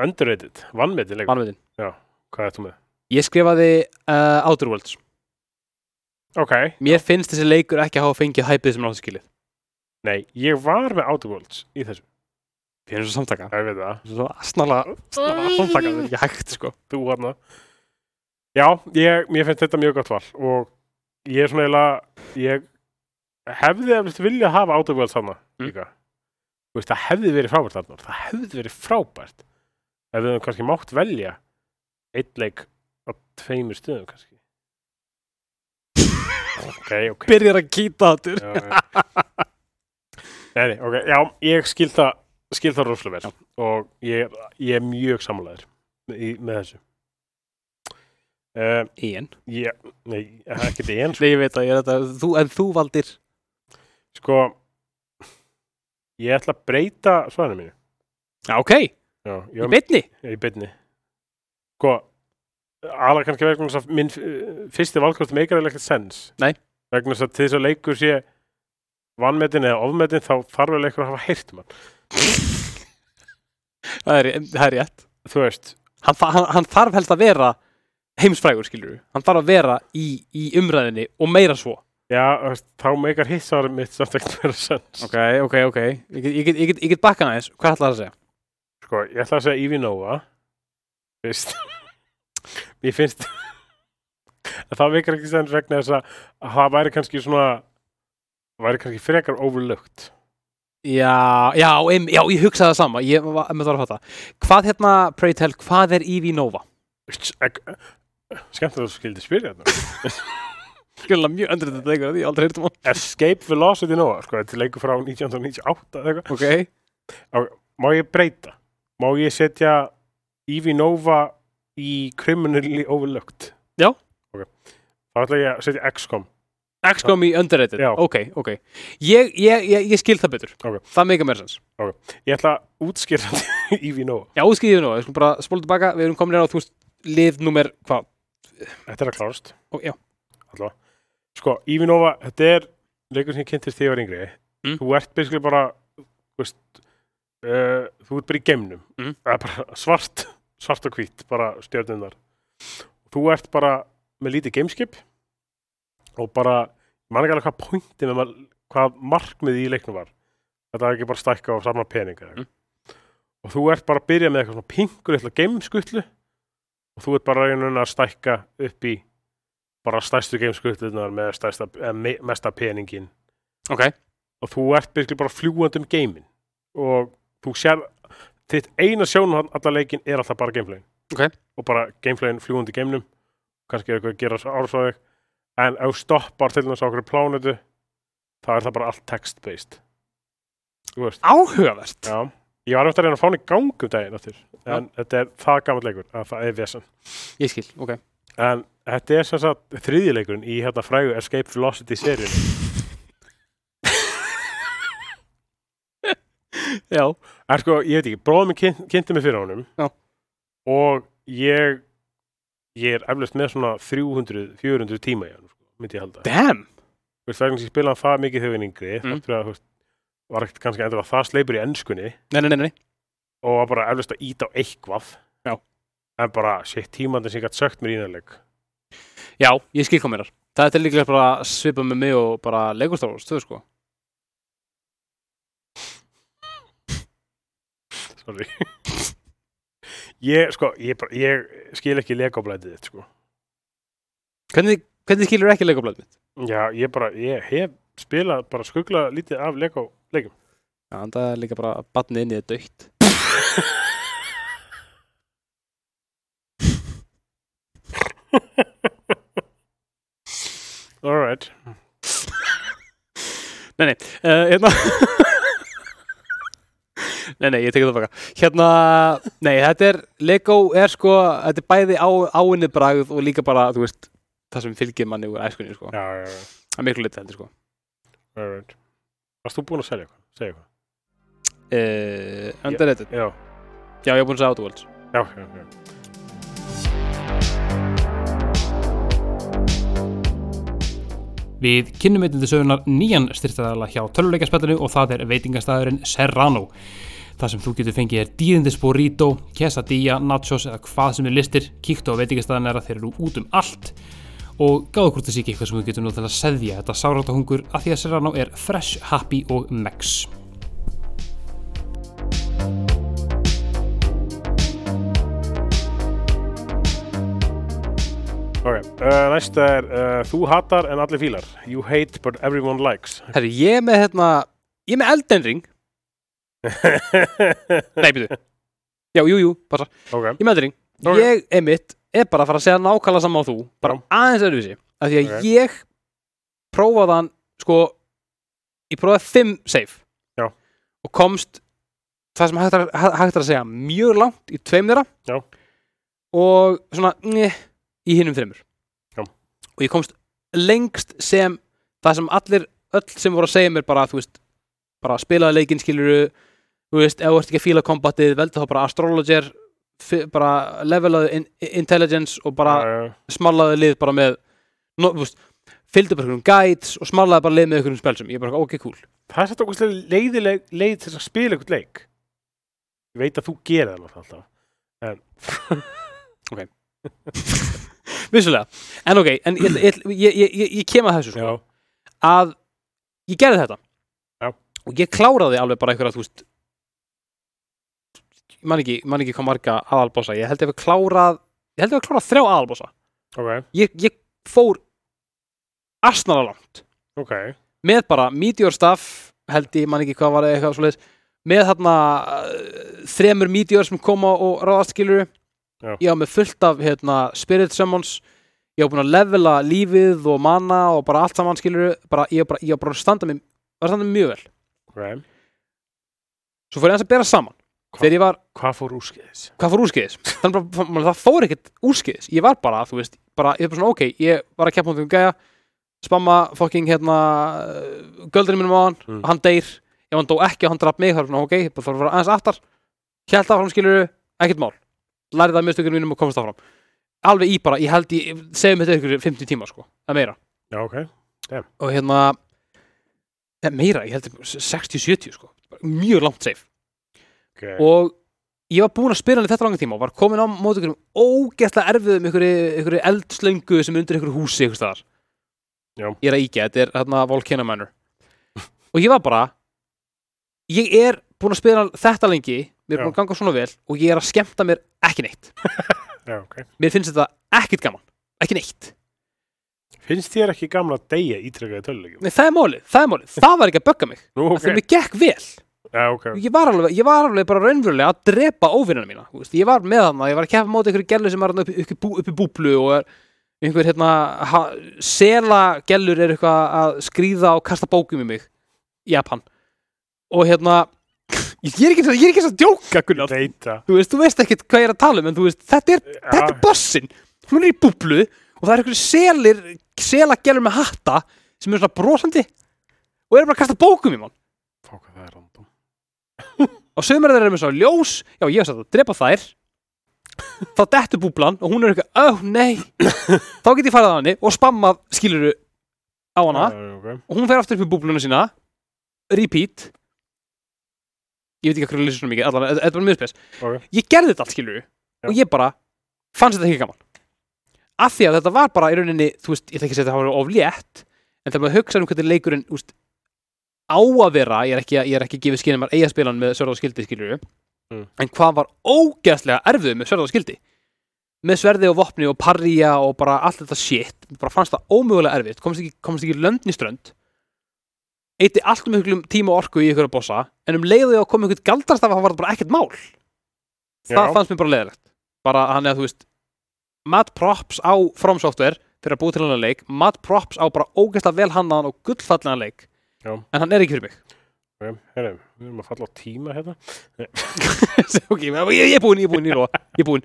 B: Underrated, vannmetið leikur
A: Mannveitin
B: Hvað er þú með?
A: Ég skrifaði uh, Outer Worlds
B: Ok,
A: Mér finnst þessi leikur ekki að hafa fengið hæpið sem náttúrulega skilið
B: nei, ég var með Outer Worlds í þessu,
A: Við erum svo samtaka
B: ég veit það
A: Svo snarla, snarla samtaka Það er ekki hægt, sko
B: þú hérna Já, ég, mér finnst þetta mjög gott val og ég er svona eiginlega ég hefði eflust vilja hafa átöfvöld þarna
A: Mm.
B: líka þú veist, það hefði verið frábært þarna það hefði verið frábært ef við höfum kannski mátt velja einn leik á tveimur stöðum kannski Ok, ok
A: Byrjar að kýta aftur
B: Já, já. Nei, nei, ok, já, ég skil það skil það rosalega vel og ég, ég er mjög sammálaður í, með þessu uh,
A: Ían
B: ég, nei, ekkert ég en
A: sko. Nei, ég veit að ég er þetta þú, En þú valdir
B: sko ég ætla að breyta svarinu mínu
A: Já, ok Í
B: já, ég, var-
A: beinni
B: Já, í beinni sko alveg kannski vegna þess að minn uh, fyrsti valkost meikar eða ekkert sens
A: Nei.
B: vegna þess að til þess að leikur sé vannmetin eða ofmetin þá þarf vel eitthvað að hafa heyrt mann
A: Það er, það er rétt
B: þú veist,
A: hann, þa- hann, hann þarf helst að vera heimsfrægur skilur hann þarf að vera í, í umræðinni og meira svo
B: já, þú veist, þá meikar hitt svarið mitt samt ekkert vera sens
A: ok, ok, ok ég get, ég get, ég get, ég get bakkað aðeins, hvað ætlaði að segja?
B: sko, ég ætla að segja Yvi Nova fyrst mér finnst að það meikar ekki sens vegna þess að að það væri kannski svona væri kannski frekar overlooked
A: já, já, em, já, ég hugsaði það sama ég var með það að fatta hvað hérna, pray tell, hvað er Eevee Nova?
B: skemmt að þú skildi spyrja þetta
A: skilur mjög öndrið þetta leikur, ég hef aldrei hýrt um hann
B: Escape Velocity Nova, sko, þetta er leikur frá 1998 eða eitthvað.
A: ok,
B: Má ég breyta? Má ég setja Yvi Nova í Criminally Overlooked?
A: Já.
B: Ok. Þá ætla ég að setja XCOM.
A: XCOM í underrated
B: Já.
A: ok, ok, ég, ég, ég, ég skil það betur
B: Ok.
A: það meika meira sens
B: Ég ætla að útskýra Yvi Nova.
A: já, útskýðið nú, við skulum bara spóla tilbaka við erum komin hér á, þú veist, lið númer hvað,
B: Þetta er að klárast.
A: Ó, já.
B: Alltaf. Sko, Yvi Nova, þetta er leikur sem ég kynntist þegar ég var yngri.
A: Mm.
B: Þú ert basically bara, þú veist, uh, þú ert bara í geimnum.
A: Mm.
B: Það er bara svart, svart og hvít, bara stjörnum þar. Þú ert bara með lítið gameskip og bara, ég man ekki alveg hvað pointið með ma- hvað markmið í leiknum var. þetta er ekki bara stækka og saman peninga
A: Mm.
B: og þú ert bara að byrja með eitthvað svona pingur eitthvað gameskutlu og þú ert bara að reyna að stækka upp í bara stærstu gameskutlunar með stærsta, eða me, mesta peningin
A: ok,
B: og þú ert byrkli bara fljúandi um geimin og þú sér þitt eina sjónu allar leikin er alltaf bara gameflögin
A: Ok.
B: og bara gameflögin fljúandi í geiminum kannski er eitthvað að gera ársvæðið en ef þú stoppar til þess að okkur plánutu þá er það bara allt text-based þú veist
A: áhugavert
B: já. ég var eftir að reyna að fá hann í gang um daginn aftur, en þetta er það gammal leikur að það er vesen
A: ég skil, ok
B: en þetta er sem sagt þriðileikurinn í hérna frægu Escape Velocity seríun
A: já,
B: Er sko, ég veit ekki, bróðum minn kyn, kynnti mig fyrir honum
A: Já.
B: og ég ég er eflust með svona 300-400 tíma í hann, sko, myndi ég halda
A: damn
B: Þú veist, vegna þess að ég spilaði það mikið þegar ég var yngri
A: Mm.
B: þáttur að, þú veist, var ekkert kannski endur að það sleipur í enskunni
A: nei, nei, nei, nei,
B: og var bara eflust að íta á eitthvað
A: Já.
B: en bara, shit, tímandi sem ég gætt sögt mér í innanleik
A: já, ég skil kom mér það er líklega bara að svipa með mig og bara leikustofur, stöðu sko
B: Sorry Ég, sko, ég, bara, ég skil ekki legoblætið þitt, sko
A: hvernig, hvernig skilur ekki leikublaðið mitt?
B: Já, ég bara, ég hef spilað bara skugla lítið af lego leikum
A: já, en það er líka bara að batnið inn í þetta dögt
B: Alright
A: uh, hérna Nei, nei, ég tekið það baka Hérna, nei, þetta er Lego er sko, þetta er bæði á, áinni bragð og líka bara, þú veist það sem fylgir manni úr æskunni, sko
B: Já, já, já
A: að miklu liti heldur, sko
B: Alright. Varst þú búinn að selja eitthvað? Segja eitthvað?
A: uh, Underrated,
B: Já.
A: já, ég er búin að segja Outworlds
B: Já, já, já.
C: Við kynnum einnig til sögunar nýjan styrtaðala hjá töluleikaspættinu og það er veitingastæðurinn Serrano. Það sem þú getur fengið er dýðindis burrito, quesadilla, nachos eða hvað sem er listir. Kíktu á veitingastæðan er að þeir eru út um allt og gáðu hvort það sé ekki eitthvað sem þú getur nú til að seðja þetta sáráta hungur að því að Serrano er fresh, happy og mex.
B: Ok, uh, næsta er uh, Þú hatar en allir fílar. You hate but everyone likes.
A: Herri, ég er með, hérna, ég er með Elden Ring
B: ok,
A: Nei, byrju Já, jú, jú, passa, ég er með Elden Ring
B: Ok.
A: Ég, einmitt, er bara að fara að segja nákvæmlega saman á þú bara
B: Já.
A: aðeins öðruvísi af því að
B: Ok.
A: ég prófaði hann sko, ég prófaði fimm safe
B: Já.
A: og komst það sem hægt er, hæ- hægt er að segja mjög langt í tveim þeirra
B: Já.
A: og svona njö, í hinum þreimur
B: Já.
A: og ég komst lengst sem það sem allir, öll sem voru að segja mér bara, þú veist, bara spilaði leikinn skiluru, þú veist, ef þú ert ekki að fíla kombatið, veldu þá bara astrologer fi- bara levelaðu in, intelligence og bara
B: uh,
A: smálaði lið bara með no, þú veist, fylgdu bara einhverjum guides og smálaði bara lið með einhverjum spelsum ég er bara ok, cool
B: það er þetta okkur leiðileg leið til þess að spila eitthvað leik. Ég veit að þú gerir það náttúrulega alltaf. En,
A: vissulega, en ok, en ég, ég, ég, ég, ég, ég kem að þessu sko,
B: já,
A: að ég gerði þetta
B: Já.
A: og ég kláraði alveg bara einhverja, þú veist ég man ekki, man ekki hvað marga aðalbossa, ég held ég að klárað ég held ég að klárað þrjá aðalbossa
B: ok,
A: ég, ég fór astnara langt
B: ok.
A: með bara Meteor Staff held ég, man ekki hvað var eitthvað svoleiðis með þarna uh, þremur Meteor sem koma og ráðast skilur
B: Já.
A: ég á með fullt af hérna, Spirit Summons ég á búin að levela lífið og mana og bara allt saman skilur bara, ég á bara, ég á bara að standa mig, var að standa mig mjög vel
B: Ok.
A: svo fór ég aðeins að bera saman þegar ég var,
B: Hvað fór úrskeiðis?
A: hvað fór úrskeiðis þannig bara, man, það fór ekkert úrskeiðis ég var bara, þú veist, bara, ég var bara svona ok ég var að keppa um því gæja spamma fucking hérna göldurinn mínum á hann
B: Mm.
A: hann deyr, ef hann dó ekki og hann draf mig þá er svona ok, það þarf að vera aðeins aftar held áfram skilur, ekkert mál lærið það mistökunum mínum og komast áfram alveg í bara, ég held í, segjum þetta ykkur 50 tíma sko, eða meira
B: Já, ok.
A: og hérna eða meira, ég held 60-70 sko mjög langt safe
B: okay.
A: og ég var búinn að spila hann í þetta langa tíma og var komin á móti ykkur ógeðslega erfiðum ykkur, ykkur eldslöngu sem er undir ykkur húsi ykkur staðar
B: Já.
A: ég er að íkja, þetta er hérna Volcano Manor og ég var bara ég er búin að spila þetta lengi mér er
B: Já.
A: búin að ganga svona vel og ég er að skemmta mér ekki neitt
B: Já, ok.
A: mér finnst þetta ekkert gaman, ekki neitt
B: Finnst þér ekki gamla að deyja ítrekkaði tölulegjum?
A: Nei, það er málið, það er málið, það var ekki að bögga mig
B: Nú,
A: okay.
B: ok.
A: þegar mér gekk vel
B: Já, ok.
A: ég var, alveg, ég var alveg bara raunverulega að drepa óvinnina mína þú veist. ég var með hann, ég var að keppa móti einhverju gellu sem er þarna upp, upp, upp, upp í búblu og er einhver hérna ha, sela gellur er eitthvað að skríða og kasta bókum í mig í Japan og hérna ég er ekki, ég er ekki svo að djóka Gunnar
B: Deyta.
A: þú veist, þú veist ekkert hvað ég er að tala um en þú veist, þetta er, þetta er bossin hún er í búblu og það er einhverju selir sela gellur með hatta sem er svona brosandi og er bara að kasta bókum í mann
B: Fá hvað það er random.
A: og sömur þeir eru með svo ljós já ég var satt að drepa þær þá dettur búblan og hún er eitthvað oh nei, þá get ég farið á henni og spammað skiluru á hana
B: Já, ok.
A: og hún fer aftur upp í búbluna sína repeat ég veit ekki hvað hverju lýsir svona mikið allan, þetta var mjög spes
B: Ok.
A: ég gerði þetta allt skiluru og ég bara fannst þetta ekki gaman af því að þetta var bara í rauninni þú veist, ég ætla ekki að segja þetta hafa verið of létt en þegar maður hugsa um hvernig leikurinn úst, á að vera, ég er ekki, að- ég er ekki að gefa skynum að eiga spilan með sverða og skildi skiluru
B: Mm.
A: en hvað var ógeðslega erfið með sverða og skildi með sverði og vopni og parja og bara allt þetta shit bara fannst það ómögulega erfitt, komst ekki, komst ekki löndni strönd eitti allt um miklum tíma og orku í ykkur að bossa en um leiðu ég að koma ykkur galdrast af að það var þetta bara ekkert mál það
B: Já.
A: fannst mér bara leiðilegt bara hann eða þú veist mad props á From Software fyrir að búi til hann að leik mad props á bara ógeðslega vel hannaðan og gullfallan leik
B: Já.
A: en hann er ekki fyrir mig
B: Ok, herru, við erum að falla á tíma hérna.
A: ok, ég, ég er búinn, ég er búinn, ég er búinn, ég er búinn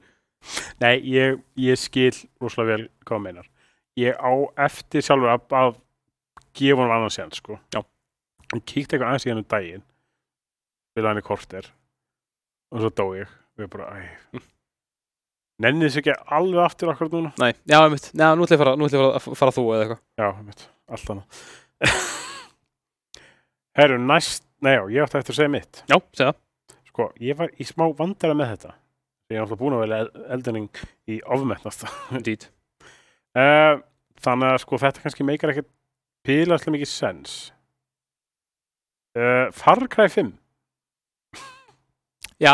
B: Nei, ég, ég skil rosalega vel hvað það meinar. Ég á eftir sjálfur að, að gefa hann annars sér, sko. Já. Hann kíkti eitthvað aðeins í hann um daginn, við hann í korter, og svo dó ég. Við bara, æ, nennið þessu ekki alveg aftur akkur núna.
A: Nei, já, einmitt, já, nú ætla ég að fara, nú ætla ég að fara, fara þú eða eitthvað
B: Já, mitt, allt annað. Herru, næst, nei já, ég átti eftir að segja mitt.
A: Já, segja það
B: Sko, ég var í smá vandara með þetta. Ég er alltaf búin að velja eldinning í ofmetnasta.
A: Indeed.
B: Eh, þannig að sko þetta kannski meikar ekkert pílaslega mikið sens uh, Far Cry 5
A: Já,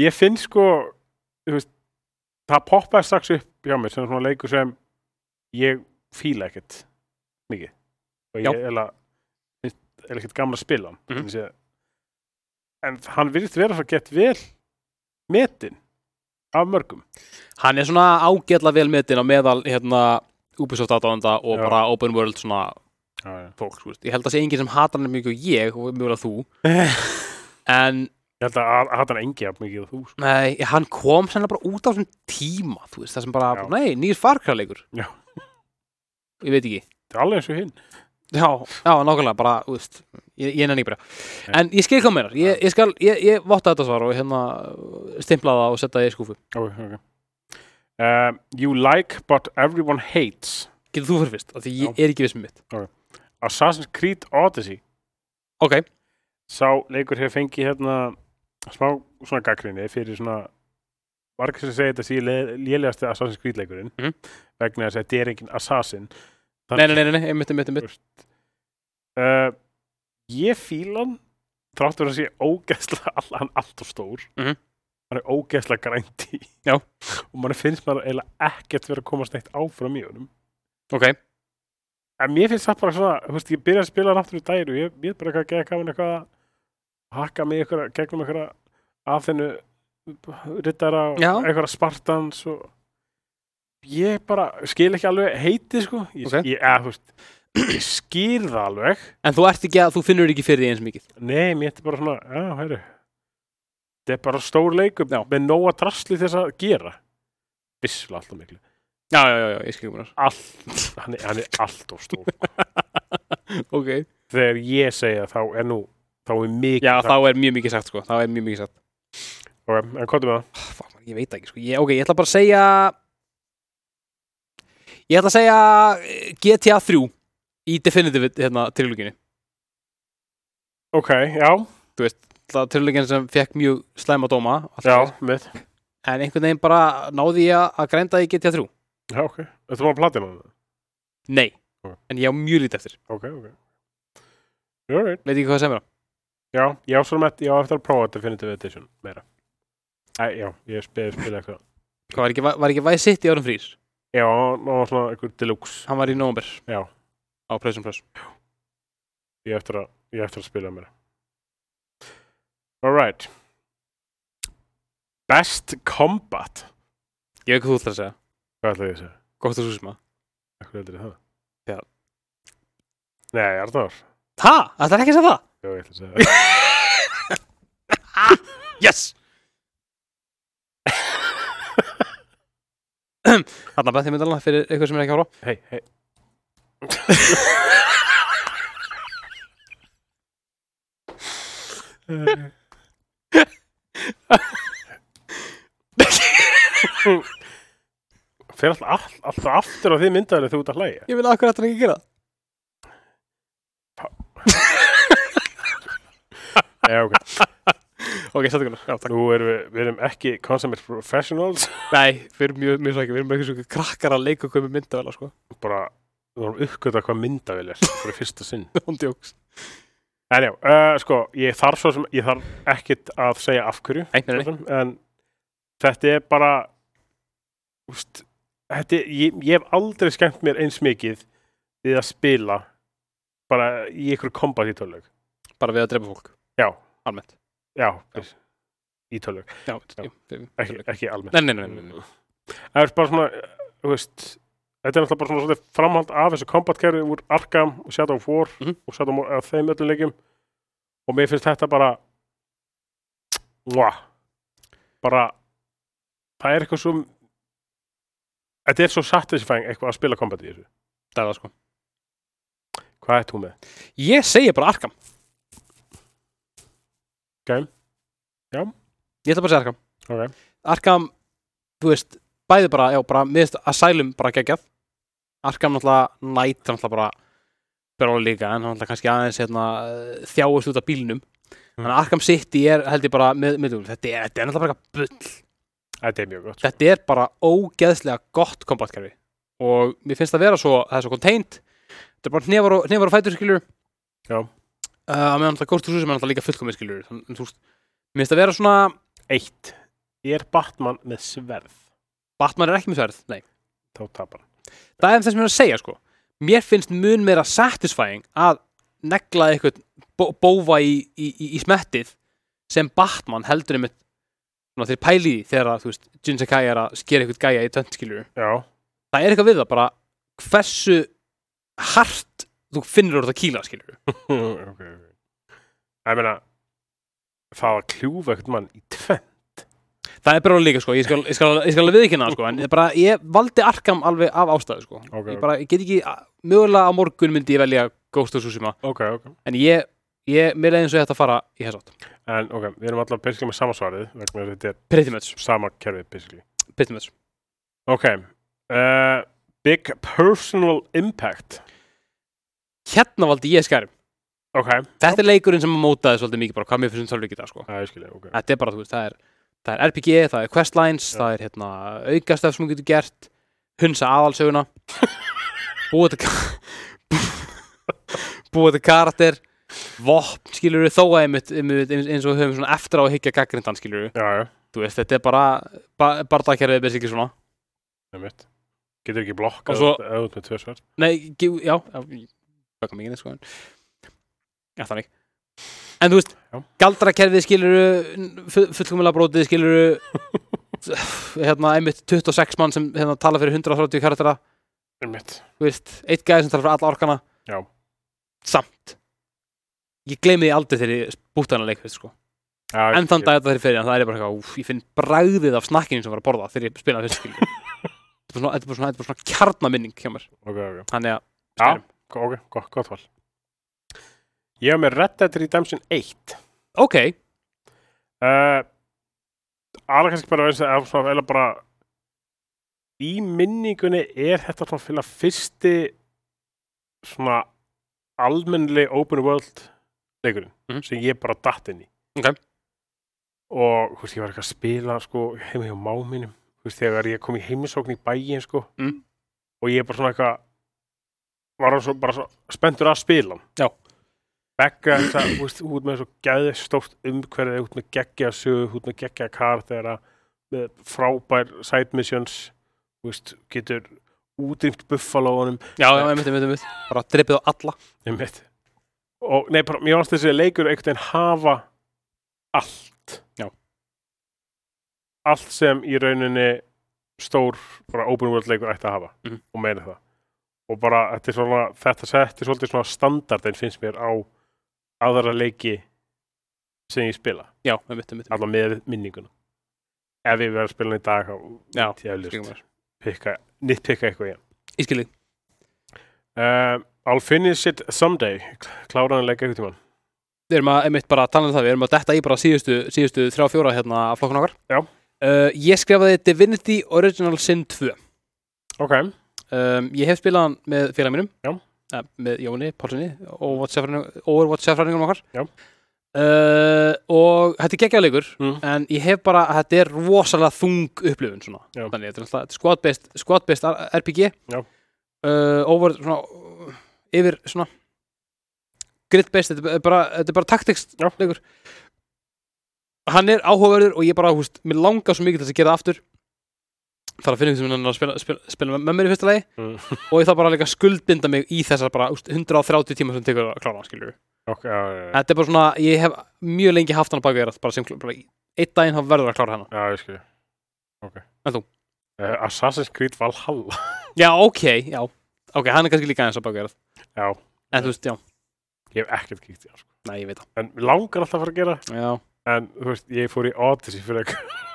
B: ég finn sko þú veist, það poppaði strax upp hjá mér sem svona leikur sem ég fíla ekkert mikið og
A: Já.
B: ég er ekkert gamla að spila hann
A: Mhm.
B: mm -hmm. en hann virðist vera svo gett vel metin af mörgum
A: hann er svona ágætla vel metin á meðal hérna Ubisoft aðdáðanda og
B: Já.
A: bara open world svona
B: já, já.
A: fólk, þú veist. Ég held að sé enginn sem hatar hann mikið og ég og mjögulega þú en
B: ég held að að hatt hann engi af mikið og þú sko.
A: nei, hann kom sennilega bara út á þessum tíma, þú veist, það sem bara,
B: Já.
A: nei, nýr farkræleikur.
B: Já.
A: Ég veit ekki.
B: þetta er alveg eins og hinn
A: Já, já, nákvæmlega, bara, þú veist, ég, ég nenni ekki bara.
B: Nei.
A: En ég skil hvað meinar, ég, ég skal, ég, ég votta þetta svar og hérna stimpla það og setja það í skúfu.
B: Ok, ok. Um, you like but everyone hates
A: Getur þú fyrir fyrst, af því ég er ekki viss með mitt.
B: Assassin's Creed Odyssey
A: Ok,
B: sá leikur hefur fengið hérna smá svona gaggrinni fyrir svona margir sem segja þetta sé lélegasti Assassin's Creed leikurinn
A: Mhm.
B: vegna þess að þetta er engin Assassin
A: nei, nei, nei, nei, nei, einmitt, einmitt, einmitt.
B: Uh, ég fíla hann þrátt verið að sé ógeðslega all, hann er alltaf stór
A: Mhm.
B: hann er ógeðslega grænti
A: Já.
B: og mann finnst maður eiginlega ekkert verið að komast neitt áfram í honum
A: Ok,
B: en mér finnst það bara svona, þú veist, ég byrja að spila hann aftur í dagir og ég veit bara hvað geða kafin eitthvað að hakka mig ykkur, gegnum ykkur að þennu rittara og
A: Já.
B: einhverja spartans og ég bara skil ekki alveg heiti sko ég,
A: Ok.
B: ég, eða, þú veist, ég skil það alveg
A: en þú ert ekki að, þú finnur ekki fyrir því eins mikið.
B: nei, mér þetta bara svona, já, hæru þetta er bara stór leikum
A: Já.
B: með nóga drasli þess að gera bissla alltaf miklu
A: Já, já, já, já, ég skil hvað meinar.
B: allt, hann, er, hann er allt of stór
A: Ok.
B: þegar ég segja þá er nú þá er mikið
A: Já, þá er mjög mikið sagt, sko, þá er mjög mikið sagt.
B: Ok, en hvað er með það?
A: Ah, Fuck, man, ég veit það ekki, sko, ég, ok, ég ætla bara að segja, ég ætla að segja eh, GTA 3 í Definitive, hérna, trilóginni.
B: Ok, já,
A: það trilögin sem fekk mjög slæma dóma
B: já,
A: alltaf,
B: mitt
A: en einhvern veginn bara náði ég að- að grænda í GTA 3
B: Já, ok, þetta var platina
A: nei,
B: Ok.
A: en ég á mjög lítið eftir
B: Ok, ok Alright,
A: veit ekki hvað það sem er á
B: Já, já, svo með, já, eftir að prófa Definitive Edition meira. Æ, já, ég spila, spila eitthvað.
A: Hvað var ekki, var ekki Vice City árum frýr?
B: Já, ná var svona eitthvað deluxe.
A: Hann var í november
B: Já.
A: á Playstation Plus
B: Ég eftir að, ég eftir að spila meira. Alright. Best Combat.
A: Ég veit hvað þú ætlar að segja
B: Hvað ætlaði ég að segja?
A: Gott að súsma
B: Akkur heldur ég það?
A: Já.
B: Nei, Arnór.
A: Ha? Ætlar ekki að segja það?
B: Já, ég ætla að segja það.
A: Yes! Þarna bæði þið myndalina fyrir eitthvað sem er ekki að horfa
B: Hei, hei. Fer alltaf, all, alltaf aftur á því myndaðinu þú ert að hlæja.
A: Ég vil akkur ætlar ekki að gera það
B: Já, ok.
A: Ok, settu konar Já, takk
B: Nú erum við, við erum ekki consummate professionals.
A: Nei, við erum mjög, mjög svækir Við erum ekki svona krakkar að leika okkur með myndavela, sko
B: Bara, við vorum uppgötað hvað myndaðil er fyrir fyrsta sinn.
A: Hún djóks
B: En já, uh, sko, ég þarf svo sem, ég þarf ekkit að segja af hverju.
A: Nei, nei, nei
B: Þessum, en þetta er bara úst, þetta, er- ég, ég hef aldrei skemmt mér eins mikið við að spila bara í ykkur kombat í tölvög
A: Bara við að drepa fólk
B: Já.
A: Almennt
B: já, í tölvög,
A: Já,
B: Já.
A: já. Ég,
B: ekki, ekki almennt
A: Nei, nei, nei, nei, nei.
B: það er bara svona þú veist, þetta er náttúrulega bara svona svolítið framhald af þessu kombatkerfi úr Arkham og Shadow of War
A: Mhm.
B: og Shadow of War af þeim öllum leikjum og mér finnst þetta bara Mwah. bara það er eitthvað svo þetta er svo satisfying eitthvað að spila kombat í þessu
A: Það er það, sko
B: hvað er þú með?
A: Ég segi bara Arkham
B: Ok. Já.
A: Ég ætla bara að segja Arkham
B: Okay.
A: Arkham, þú veist, bæði bara, já, bara miðst Asylum bara geggjað Arkham náttúrulega Knight, hann náttúrulega bara byrja líka, en hann náttúrulega kannski aðeins hérna, eh, þjáist út af bílnum Þannig að Arkham City er, held ég bara, með, með, þetta, er, þetta er náttúrulega bara eitthvað bull
B: þetta er mjög gott sko.
A: þetta er bara ógeðslega gott kombatkerfi og mér finnst það vera svo, það er svo contained þetta er bara hnefar og, hnefar og fætur skilur
B: Já.
A: að meðan það góðst úr sem er alltaf líka fullkomið skilur þannig, þú veist, mér finnst það vera svona
B: eitt, er Batman með sverð
A: Batman er ekki með sverð, nei
B: þá tapar hann.
A: það er það sem ég er að segja sko mér finnst mun meira satisfying að negla eitthvað bó bófa í, í, í, í smettið sem Batman heldur einmitt svona þeir pæli í því þegar að, þú veist Jin Sakai er að skera eitthvað gæja í töntskilur
B: já,
A: það er eitthvað við það bara hversu hart þú finnur úr þetta kýla skilur
B: ok, ok. Ég meina, það að kljúfa ekkert mann í tvenn.
A: það er bara líka sko, ég skal, ég skal, ég skal alveg viðkynna það, sko, en ég bara, ég valdi Arkham alveg af ástæðu sko,
B: Ok,
A: ég bara, ég get ekki mögulega á morgun myndi ég velja Ghost of Tsushima,
B: Ok, ok.
A: en ég, ég mér leiði eins og ég ætti að fara í þessátt
B: En ok, við erum allavega basically með samasvarið, vegna þess að þetta er
A: Pretty much,
B: sama kerfið basically.
A: pretty much
B: Ok, uh, big personal impact.
A: Hérna valdi ég skærum
B: Ok,
A: Þetta er leikurinn sem að mótaði svolítið mikið bara hvað mér finnst um tölvöki í dag sko
B: það er skilja, ok.
A: Þetta er bara, þú veist, það er, það er RPG, það er questlines
B: Já.
A: það er hérna aukastöf sem þú getur gert hunsa aðalsöguna búa þetta búa þetta karakter vopn, skilur við, þó að einmitt, einmitt, eins- eins og við höfum svona eftir á að higgja gaggrindan, skilur við,
B: Já, já,
A: þú veist, þetta er bara ba barðakærið er ekki svona
B: það er mitt. Getur ekki blokkað
A: Og svo-
B: auðvitað með tvö sverð.
A: Nei, gíf, já, já Bökkum ekki neitt sko en Já, þannig En þú veist,
B: Já.
A: galdrakerfið skiluru fullkomulega brótið skiluru hérna, einmitt 26 mann sem hérna, tala fyrir 130 karaktera
B: Það er mitt.
A: þú veist, eitt gæði sem tala fyrir alla orkana
B: Já.
A: Samt Ég gleymi því aldrei þegar ég búta hana leikvist sko
B: Já, ég
A: En þann
B: skil.
A: dag þetta þeirri fyrir hann, það er ég bara eitthvað úf, Ég finn bragðið af snakkinu sem var að borða þegar ég spilaði fyrst skiluru Þetta er bara svona- þetta er bara svona, þetta er bara svona kjarnaminning hjá mér
B: Ok, ok.
A: Þannig að,
B: Já,
A: Skyrim.
B: ok, gott, gott val. Ég hef með Red Dead Redemption 1.
A: ok,
B: uh, alveg kannski bara veist að svona vel bara í minningunni er þetta svona fyrir fyrsti svona almennli open world leikurinn
A: Mhm.
B: sem ég bara datt inn í
A: Ok.
B: og þú veist ég var eitthvað að spila sko heima hjá máminum þú veist þegar ég kom í heimisókn í bæin sko
A: Mm.
B: og ég bara svona eitthvað var hann svo bara svo spenntur að spila hann
A: Já.
B: Begga, það, þú veist, út með svo gæði stórt umhverfið, út með geggja sögu, út með geggja karaktera, með frábær side missions, þú veist, getur útrýmt buffalóunum,
A: Já, já, einmitt, einmitt, einmitt Eh. Bara drippið á alla
B: einmitt. Og, nei, bara, mér finnst þessi leikur einhvern veginn hafa allt.
A: Já.
B: Allt sem í rauninni stór, bara open world leikur ætti að hafa,
A: Mhm.
B: og meina það. Og bara, þetta er svona, þetta setti svolítið svona standardin, finnst mér, á aðra leiki sem ég spila.
A: Já, einmitt, einmitt, einmitt.
B: allavega með minninguna ef ég verið að spila hann í dag þá
A: Já,
B: ég hef
A: skilum
B: lust pikka, nýtt pikka eitthvað í
A: Ég skilji
B: hann uh, I'll finish it someday klára hann að leggja eitthvað tímann
A: Við erum að, einmitt bara að tala um það Við erum að detta í bara síðustu, síðustu þrjá fjóra hérna af flokkun okkar
B: Já.
A: uh, Ég skrifaði Divinity Original Sin 2
B: ok,
A: um, Ég hef spilað hann með félag mínum
B: Já.
A: Eh, Með Jóni, Pálssoni Overwatch sefræningunum okkar
B: Já.
A: uh, Og þetta er geggjáleikur
B: mm.
A: en ég hef bara, þetta er rosalega þung upplifun svona,
B: Já.
A: þannig þetta er alltaf squad-based squad based RPG
B: Já.
A: Uh, over svona uh, yfir svona grid-based, þetta er bara, þetta er bara taktikst
B: Já.
A: leikur hann er áhugaverður og ég bara, húst, mér langar svo mikið til þess að gera það aftur þarf að finna einhvern sem hann að spila, spila, spila með mér í fyrsta lagi
B: Mm.
A: og ég þarf bara líka að skuldbinda mig í þessar bara úst, 130 tíma sem tekur að klára hann skilur
B: ok, já, já, já,
A: þetta er bara svona, ég hef mjög lengi haft hann að baka þér bara sem, bara í- einn daginn hann verður að klára hennan
B: já, ég skilji ok
A: En þú?
B: Eh, Assassin's Creed Valhalla
A: já, ok, já, ok, hann er kannski líka aðeins að baka þér
B: já,
A: en þú veist, já,
B: ég hef ekkert kíkt í hann sko.
A: næ, ég veit það
B: en mig langar alltaf að fara að gera
A: já,
B: en þú veist, ég fór í Odyssey fyrir eitthvað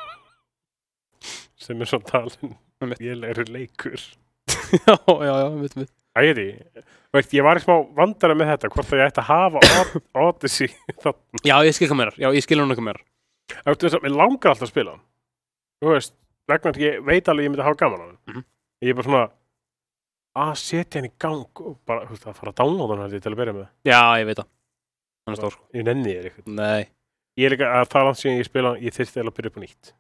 B: sem er svo talin
A: Einmitt.
B: ég leiru leikur
A: já, já, já, við veitum við
B: Ægði, veist, ég var í smá vandara með þetta, hvort að ég ætti að hafa Od- Odyssey þarna.
A: já, ég skil hvað mér er, já, ég skil hann hvað mér er
B: Þú veist, mér langar alltaf að spila hann. Þú veist, vegna að ég veit alveg að ég myndi að hafa gaman á hann.
A: Mhm.
B: Ég er bara svona að setja hann í gang og bara, þú veist, að fara að downloada hann held ég til að byrja með.
A: já, ég veit það hann er stór, sko,
B: Ég nenni þér eitthvað.
A: nei
B: Ég er líka að það langt síðan ég spila hann, ég þyrfti eiginlega að byrja upp á nýtt.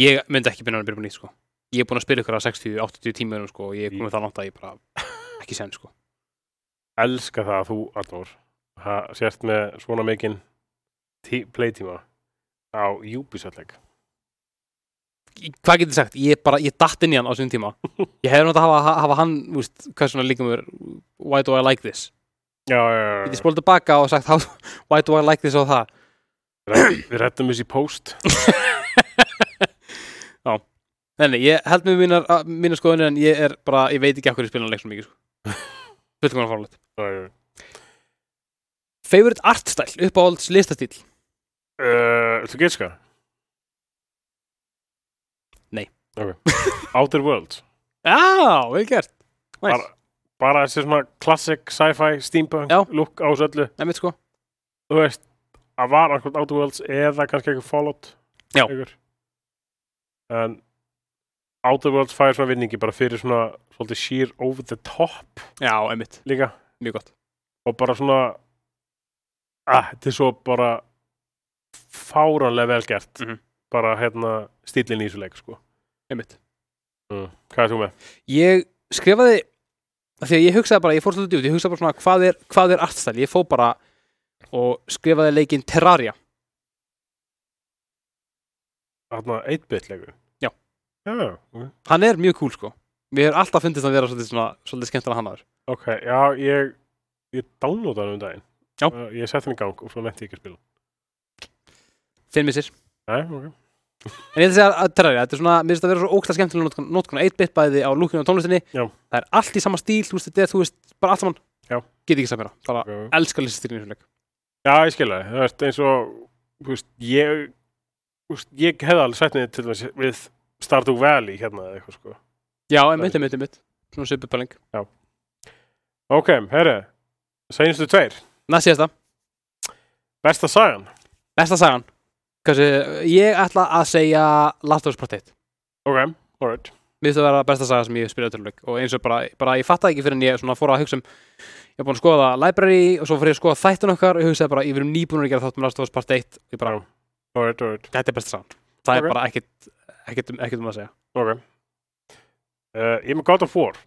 A: ég myndi ekki byrja hann að byrja búin í, sko ég er búin að spila ykkur að 60-80 tíma sko, og ég er komið það langt að ég bara ekki sen, sko
B: Elska það að þú, Arnór, ha- sért með svona mikinn tí- playtíma á Ubisoft-leik.
A: Í- hvað getur sagt, ég bara, ég datt inn í hann á sinni tíma ég hefði nátt að hafa, hafa hann, þú veist, hvað svona líka mér why do I like this
B: Já, já, já,
A: Ég
B: já.
A: geti spólað tilbaka og sagt "How- Why do I like this og það
B: Rætt- Við rettum þessi post.
A: Nei, nei, ég held með mínar, að- mínar skoðunir en ég er bara, ég veit ekki af hverju ég spila hann leik svona mikið sko. Fullkomlega fórlætt
B: Já, já, já.
A: Favorite art style, uppáhalds listastíl
B: Uh, Þú getur skar?
A: Nei.
B: Ok. Outer Worlds.
A: Já, vel gert Næs,
B: Bara, bara þessi svona classic sci-fi steampunk
A: Já.
B: look á þessu öllu.
A: nefnir sko
B: Þú veist, að var akkur Outer Worlds eða kannski eitthvað Fallout.
A: Já.
B: Einhver. En Outer Worlds fær svona vinningi bara fyrir svona svolítið sheer over the top
A: Já, einmitt,
B: líka.
A: mjög gott
B: Og bara svona ah, þetta er svo bara fáranlega vel gert.
A: Mhm.
B: Bara hérna stílinn í þessu leik, sko.
A: Einmitt
B: Mm. Hvað er þú með?
A: Ég skrifaði af Því að ég hugsaði bara, ég fór svolítið út Ég hugsaði bara svona, hvað er, hvað er art style Ég fó bara og skrifaði leikinn Terraria
B: Þarna 8-bit leikur?
A: Já.
B: Já, ok.
A: Hann er mjög cool sko Mér hefur alltaf fundist að vera svolítið, svona, svolítið skemmtilega hann aður
B: ok, já, ég, ég downloada hann um daginn.
A: Já.
B: Uh, Ég sett hann í gang og svo nefndi ég ekki að spila.
A: Finn missir
B: Nei, ok.
A: En ég ætla að segja að Terraria, þetta er svona, mér finnst að vera svo ógstað skemmtilega notkun, notkun 8-bit bæði á lúkinu og tónlistinni
B: Já.
A: Það er allt í sama stíl, þú veist, þetta er, þú veist, bara allt saman
B: Já.
A: Get ekki saman, bara
B: okay. ok.
A: elska listastílinn í svona leik
B: Já, ég skilja það. Það er eins og, þú veist, ég, þú veist, ég hefði alveg sett niður til dæmis við Stardew Valley hérna eða eitthvað, sko.
A: Já, einmitt, einmitt, einmitt, svona söpupæling
B: Ok, herri, seinustu tveir.
A: Næst síðasta,
B: Besta sagan.
A: besta sagan Kansu, ég ætla að segja Last of Us Part 1
B: Ok, alright.
A: Mér finnst að vera besta saga sem ég hef spilað töluleik og eins og bara, bara ég fatta ekki fyrir en ég svona fór að hugsa um ég er búin að skoða library og svo fór ég að skoða þættun okkar og ég hugsaði bara, ég verðum nýbúin að gera þátt með Last of Us Part 1 og ég bara,
B: Já. Alright, alright.
A: þetta er besta sagan Það
B: Ok.
A: er bara ekkit, ekkit, um- ekkit um að segja
B: Ok. Uh, ég er með God of War.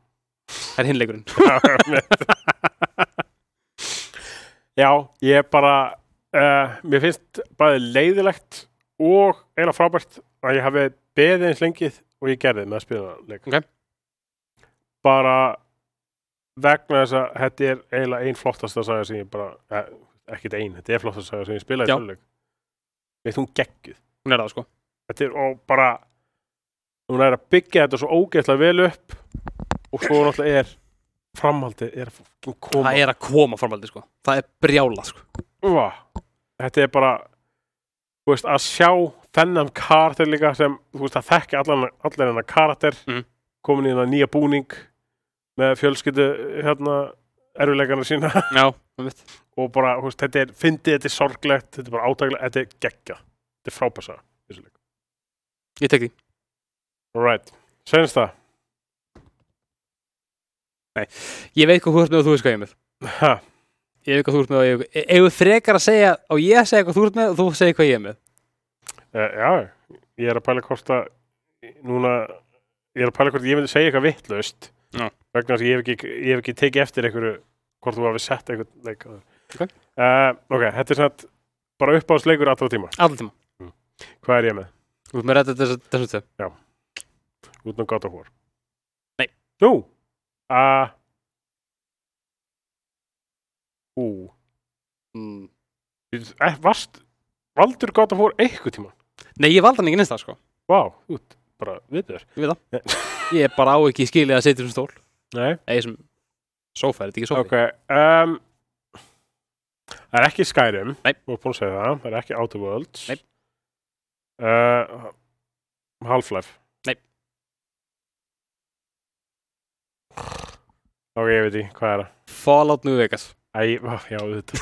A: Það er hinleikurinn
B: Já, með. Já, ég er bara uh, mér finnst bæði leiðilegt og eiginlega frábært að ég hafi beðið eins lengið og ég gerði með að spila leik
A: Ok.
B: bara vegna þess að þetta er eiginlega ein flottasta saga sem ég bara eh, ekkert ein, þetta er flottasta saga sem ég spilaði
A: Já.
B: í tölvuleik veitt hún geggjuð
A: Hún er það sko
B: þetta er og bara hún er að byggja þetta svo ógeðslega vel upp og svo náttúrulega er framhaldið er að fucking koma
A: Það er að koma formaldi sko Það er brjála sko
B: Úa, þetta er bara þú veist, að sjá þennan karakter líka sem þú veist að þekki allan, allan hennar karakter
A: Mhm.
B: komin í hennar nýja búning með fjölskyldu hérna erfileikana sína
A: Já, það mitt
B: og bara þú veist, þetta er fyndið, þetta er sorglegt, þetta er bara átæklegt þetta er geggja, þetta er frábæsa
A: Ég tek því
B: Alright, senst það
A: Ég veit hvað þú ert með og þú veist hvað ég er með
B: ha,
A: Ég veit hvað þú ert með og ég e- Ef þú frekar að segja og ég að segja hvað þú ert með og þú segir hvað ég er með
B: e, Já, ég er að pæla hvort að núna, ég er að pæla hvort ég myndi segja eitthvað vittlaust
A: Já.
B: vegna þess að ég hef ekki, ég hef ekki tekið eftir einhverju hvort þú hafi sett einhvern leik áður.
A: Ok.
B: Eh, ok, þetta er svona bara uppáðsleikur allra tíma.
A: Alla tíma
B: Hvað er ég með?
A: Þú ert með rétt þessu þessu tvö
B: Út með God of War.
A: Nei.
B: Nú? Uh, ú,
A: Mm.
B: eh, varst, valdur God of War einhver tíma?
A: Nei, ég valda hann ekki nýsta sko
B: Vá, út, bara viðbjör.
A: Ég veit Ég er bara á ekki skilið að setja um stól
B: Nei.
A: Nei, sem Sofa, er þetta ekki sofa?
B: Ok, um, það er ekki Skyrim
A: Nei.
B: Þú ert búin að segja það, það er ekki Outer Worlds
A: Nei.
B: uh, Half-Life
A: Nei.
B: Ok, ég veit ekki, hvað er það?
A: Fallout New Vegas
B: Æ, ó, já, þetta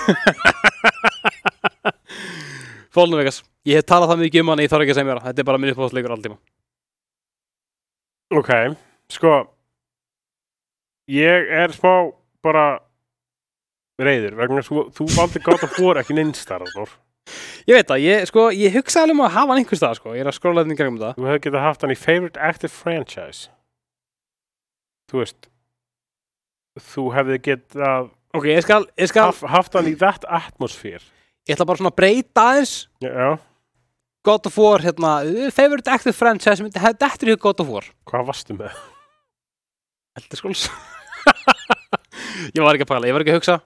A: Fallout New Vegas Ég hef talað það mikið um hann, ég þarf ekki að segja mér Þetta er bara minn uppáðsleikur alltíma
B: Ok, sko Ég er smá bara reyður vegna þú, þú valdi gott að fóra ekki nynnstar Þú
A: Ég veit það, ég, sko, ég hugsa alveg um að hafa hann einhvers stað, sko Ég er að skróla þetta í gegnum það
B: hefði getað haft hann í Favorite Active Franchise Þú veist Þú hefði getað
A: Ok, ég skal, ég skal
B: haf, haft hann í That Atmosphere
A: Ég ætla bara svona að breyta aðeins
B: Já, Já,
A: God of War, hérna uh, Favorite Active Franchise sem myndi hefði dettur í hug God of War
B: hvað varstu með?
A: Elder Scrolls Ég var ekki að pæla, ég var ekki að hugsa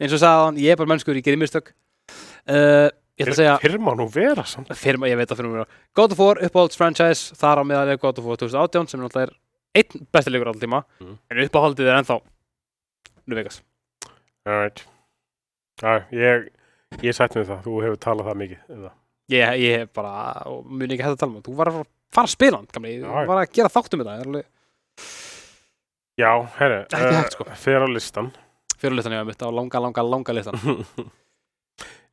A: Eins og sagði hann, ég er bara mennskur, ég gerir mistök uh, Ég ætla að segja
B: Fyrir má nú vera samt
A: fyrir maður, ég veit það fyrir maður God of War, uppáhalds franchise, þar á meðal er God of War 2018 sem náttúrulega er einn besti leikur alltaf tíma,
B: Mm.
A: en uppáhaldið er ennþá New Vegas
B: Alright Já, ég, ég sætti með það, þú hefur talað það mikið um það.
A: ég, ég hef bara, og mun ekki hægt að tala um það þú var að fara- fara að spila hann, gamli
B: Já,
A: ég
B: já.
A: var að gera þáttum þetta, alveg
B: Já, herri
A: Ekki
B: eh,
A: hægt, sko.
B: Fyrir á listan
A: fyrir listan ég var mitt á langa, langa, langa listan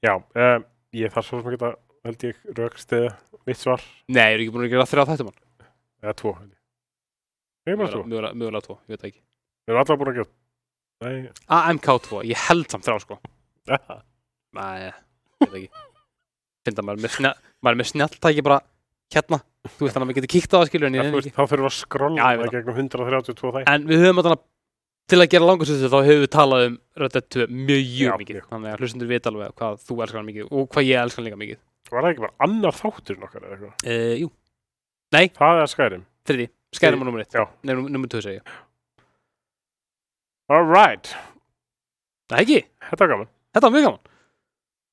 B: Já, um, ég þarf svo sem ekki að held ég rökstiða mitt svar
A: Nei, ég er ekki búin að gera þrjá þættum hann
B: eða tvo held ég. Ég er bara tvo,
A: Mögulega mögulega tvo, ég veit það ekki
B: við erum allar búin að gera Nei,
A: AMK2, ég held samt þrjá sko
B: eða
A: Nei, ég veit það ekki Finda maður er með snjall, maður er með snjalltæki bara hérna, þú veist þannig að maður getur kíkt á það skilur en ég
B: Þú
A: nefnir ekki
B: veist, þá þurfum við að skrolla
A: Já, ég veit
B: það gegnum 132 þætt
A: en við höfum alltaf til að gera langarsöðu þá höfum við talað um Red Dead 2 mjög
B: Já,
A: mikið
B: mjög.
A: þannig að hlustundur vita alveg hvað þú elskar hann mikið og hvað ég elskar hann líka mikið
B: Var það ekki bara annar þáttur nokkar eða eitthvað?
A: uh, Jú,
B: Það er skærim
A: þriði, skærum á nummer 1
B: Já.
A: Nei, num- nummer 2 segja ég
B: Alright,
A: Það ekki,
B: þetta var gaman
A: þetta var mjög gaman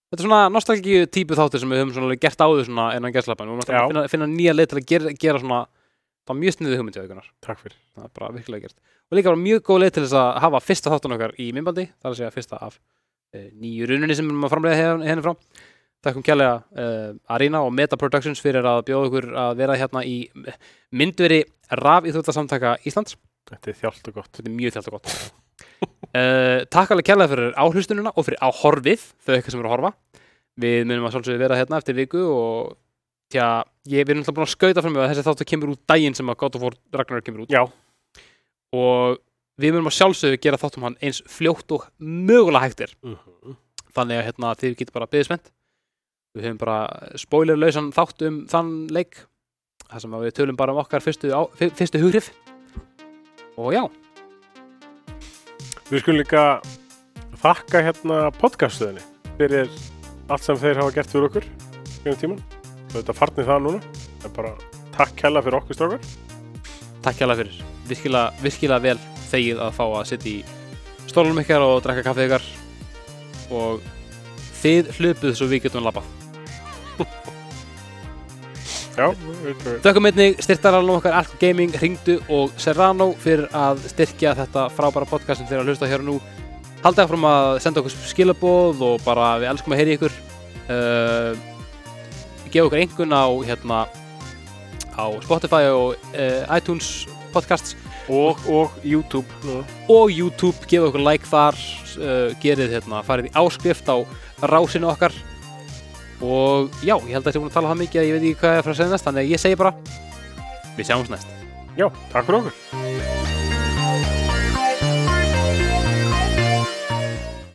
A: Þetta er svona nostalgíu típu þáttur sem við höfum svona alveg gert áður svona innan gæstlapan og við
B: Já.
A: erum að finna, finna nýja leið til að gera, gera svona það var mjög sniðu hugmyndi á ykkurnar
B: Takk fyrir
A: það er bara virkilega gert og líka bara mjög góð leið til þess að hafa fyrsta þáttun okkar í minnbandi, það er að segja fyrsta af e, nýju runinni sem við erum að hérna framlega henni frá Takkum kjærlega uh, Arena og Meta Productions fyrir að bjóða okkur að vera hérna í eh, myndveri rafíþróttasamtaka Íslands
B: Þetta er þjált og gott
A: þetta er mjög þjált og gott uh, Takk alveg kjærlega fyrir áhlustununa og fyrir áhorfið þau eitthvað sem eru að horfa við munum að svolítið vera hérna eftir viku og tja, ég, við erum alltaf búin að skauta fram með að þessi þáttu kemur út daginn sem að God of War Ragnar kemur út
B: Já,
A: og við munum að sjálfsögðu gera þátt um hann eins fljótt og mögulega hægt er
B: Mhm.
A: þannig að hérna, þið getur bara byggðismennt við höfum bara spoilerlausan þátt um þann leik þar sem að við tölum bara um okkar fyrstu, á, fyr- fyrstu hugrif og já,
B: við skulum líka þakka hérna podcaststöðinni fyrir allt sem þeir hafa gert fyrir okkur hérna tíman þetta farnir það núna en bara takk hella fyrir okkur strákar
A: Takk hérlega fyrir. Virkilega, virkilega vel þegið að fá að sitja í stólunum ykkar og drekka kaffið ykkar og þið hlupuð svo við getum labbað.
B: já, þetta er-
A: Þökkum einnig styrtaralunum okkar Alko Gaming, Ringdu og Serrano fyrir að styrkja þetta frábæra podcast sem þeir eru að hlusta hér og nú. Haldið áfram að senda okkur skilaboð og bara við elskum að heyri ykkur. Uh, gefa okkur einhvern á, hérna, á Spotify og uh, iTunes podcasts
B: og, og YouTube núna.
A: og YouTube, gefa okkur like þar uh, gerið hérna, farið í áskrift á rásinu okkar og já, ég held að ég er búin að tala það mikið að ég veit ekki hvað ég er að fara að segja næst, þannig að ég segi bara við sjáumst næst
B: já, takk fyrir okkur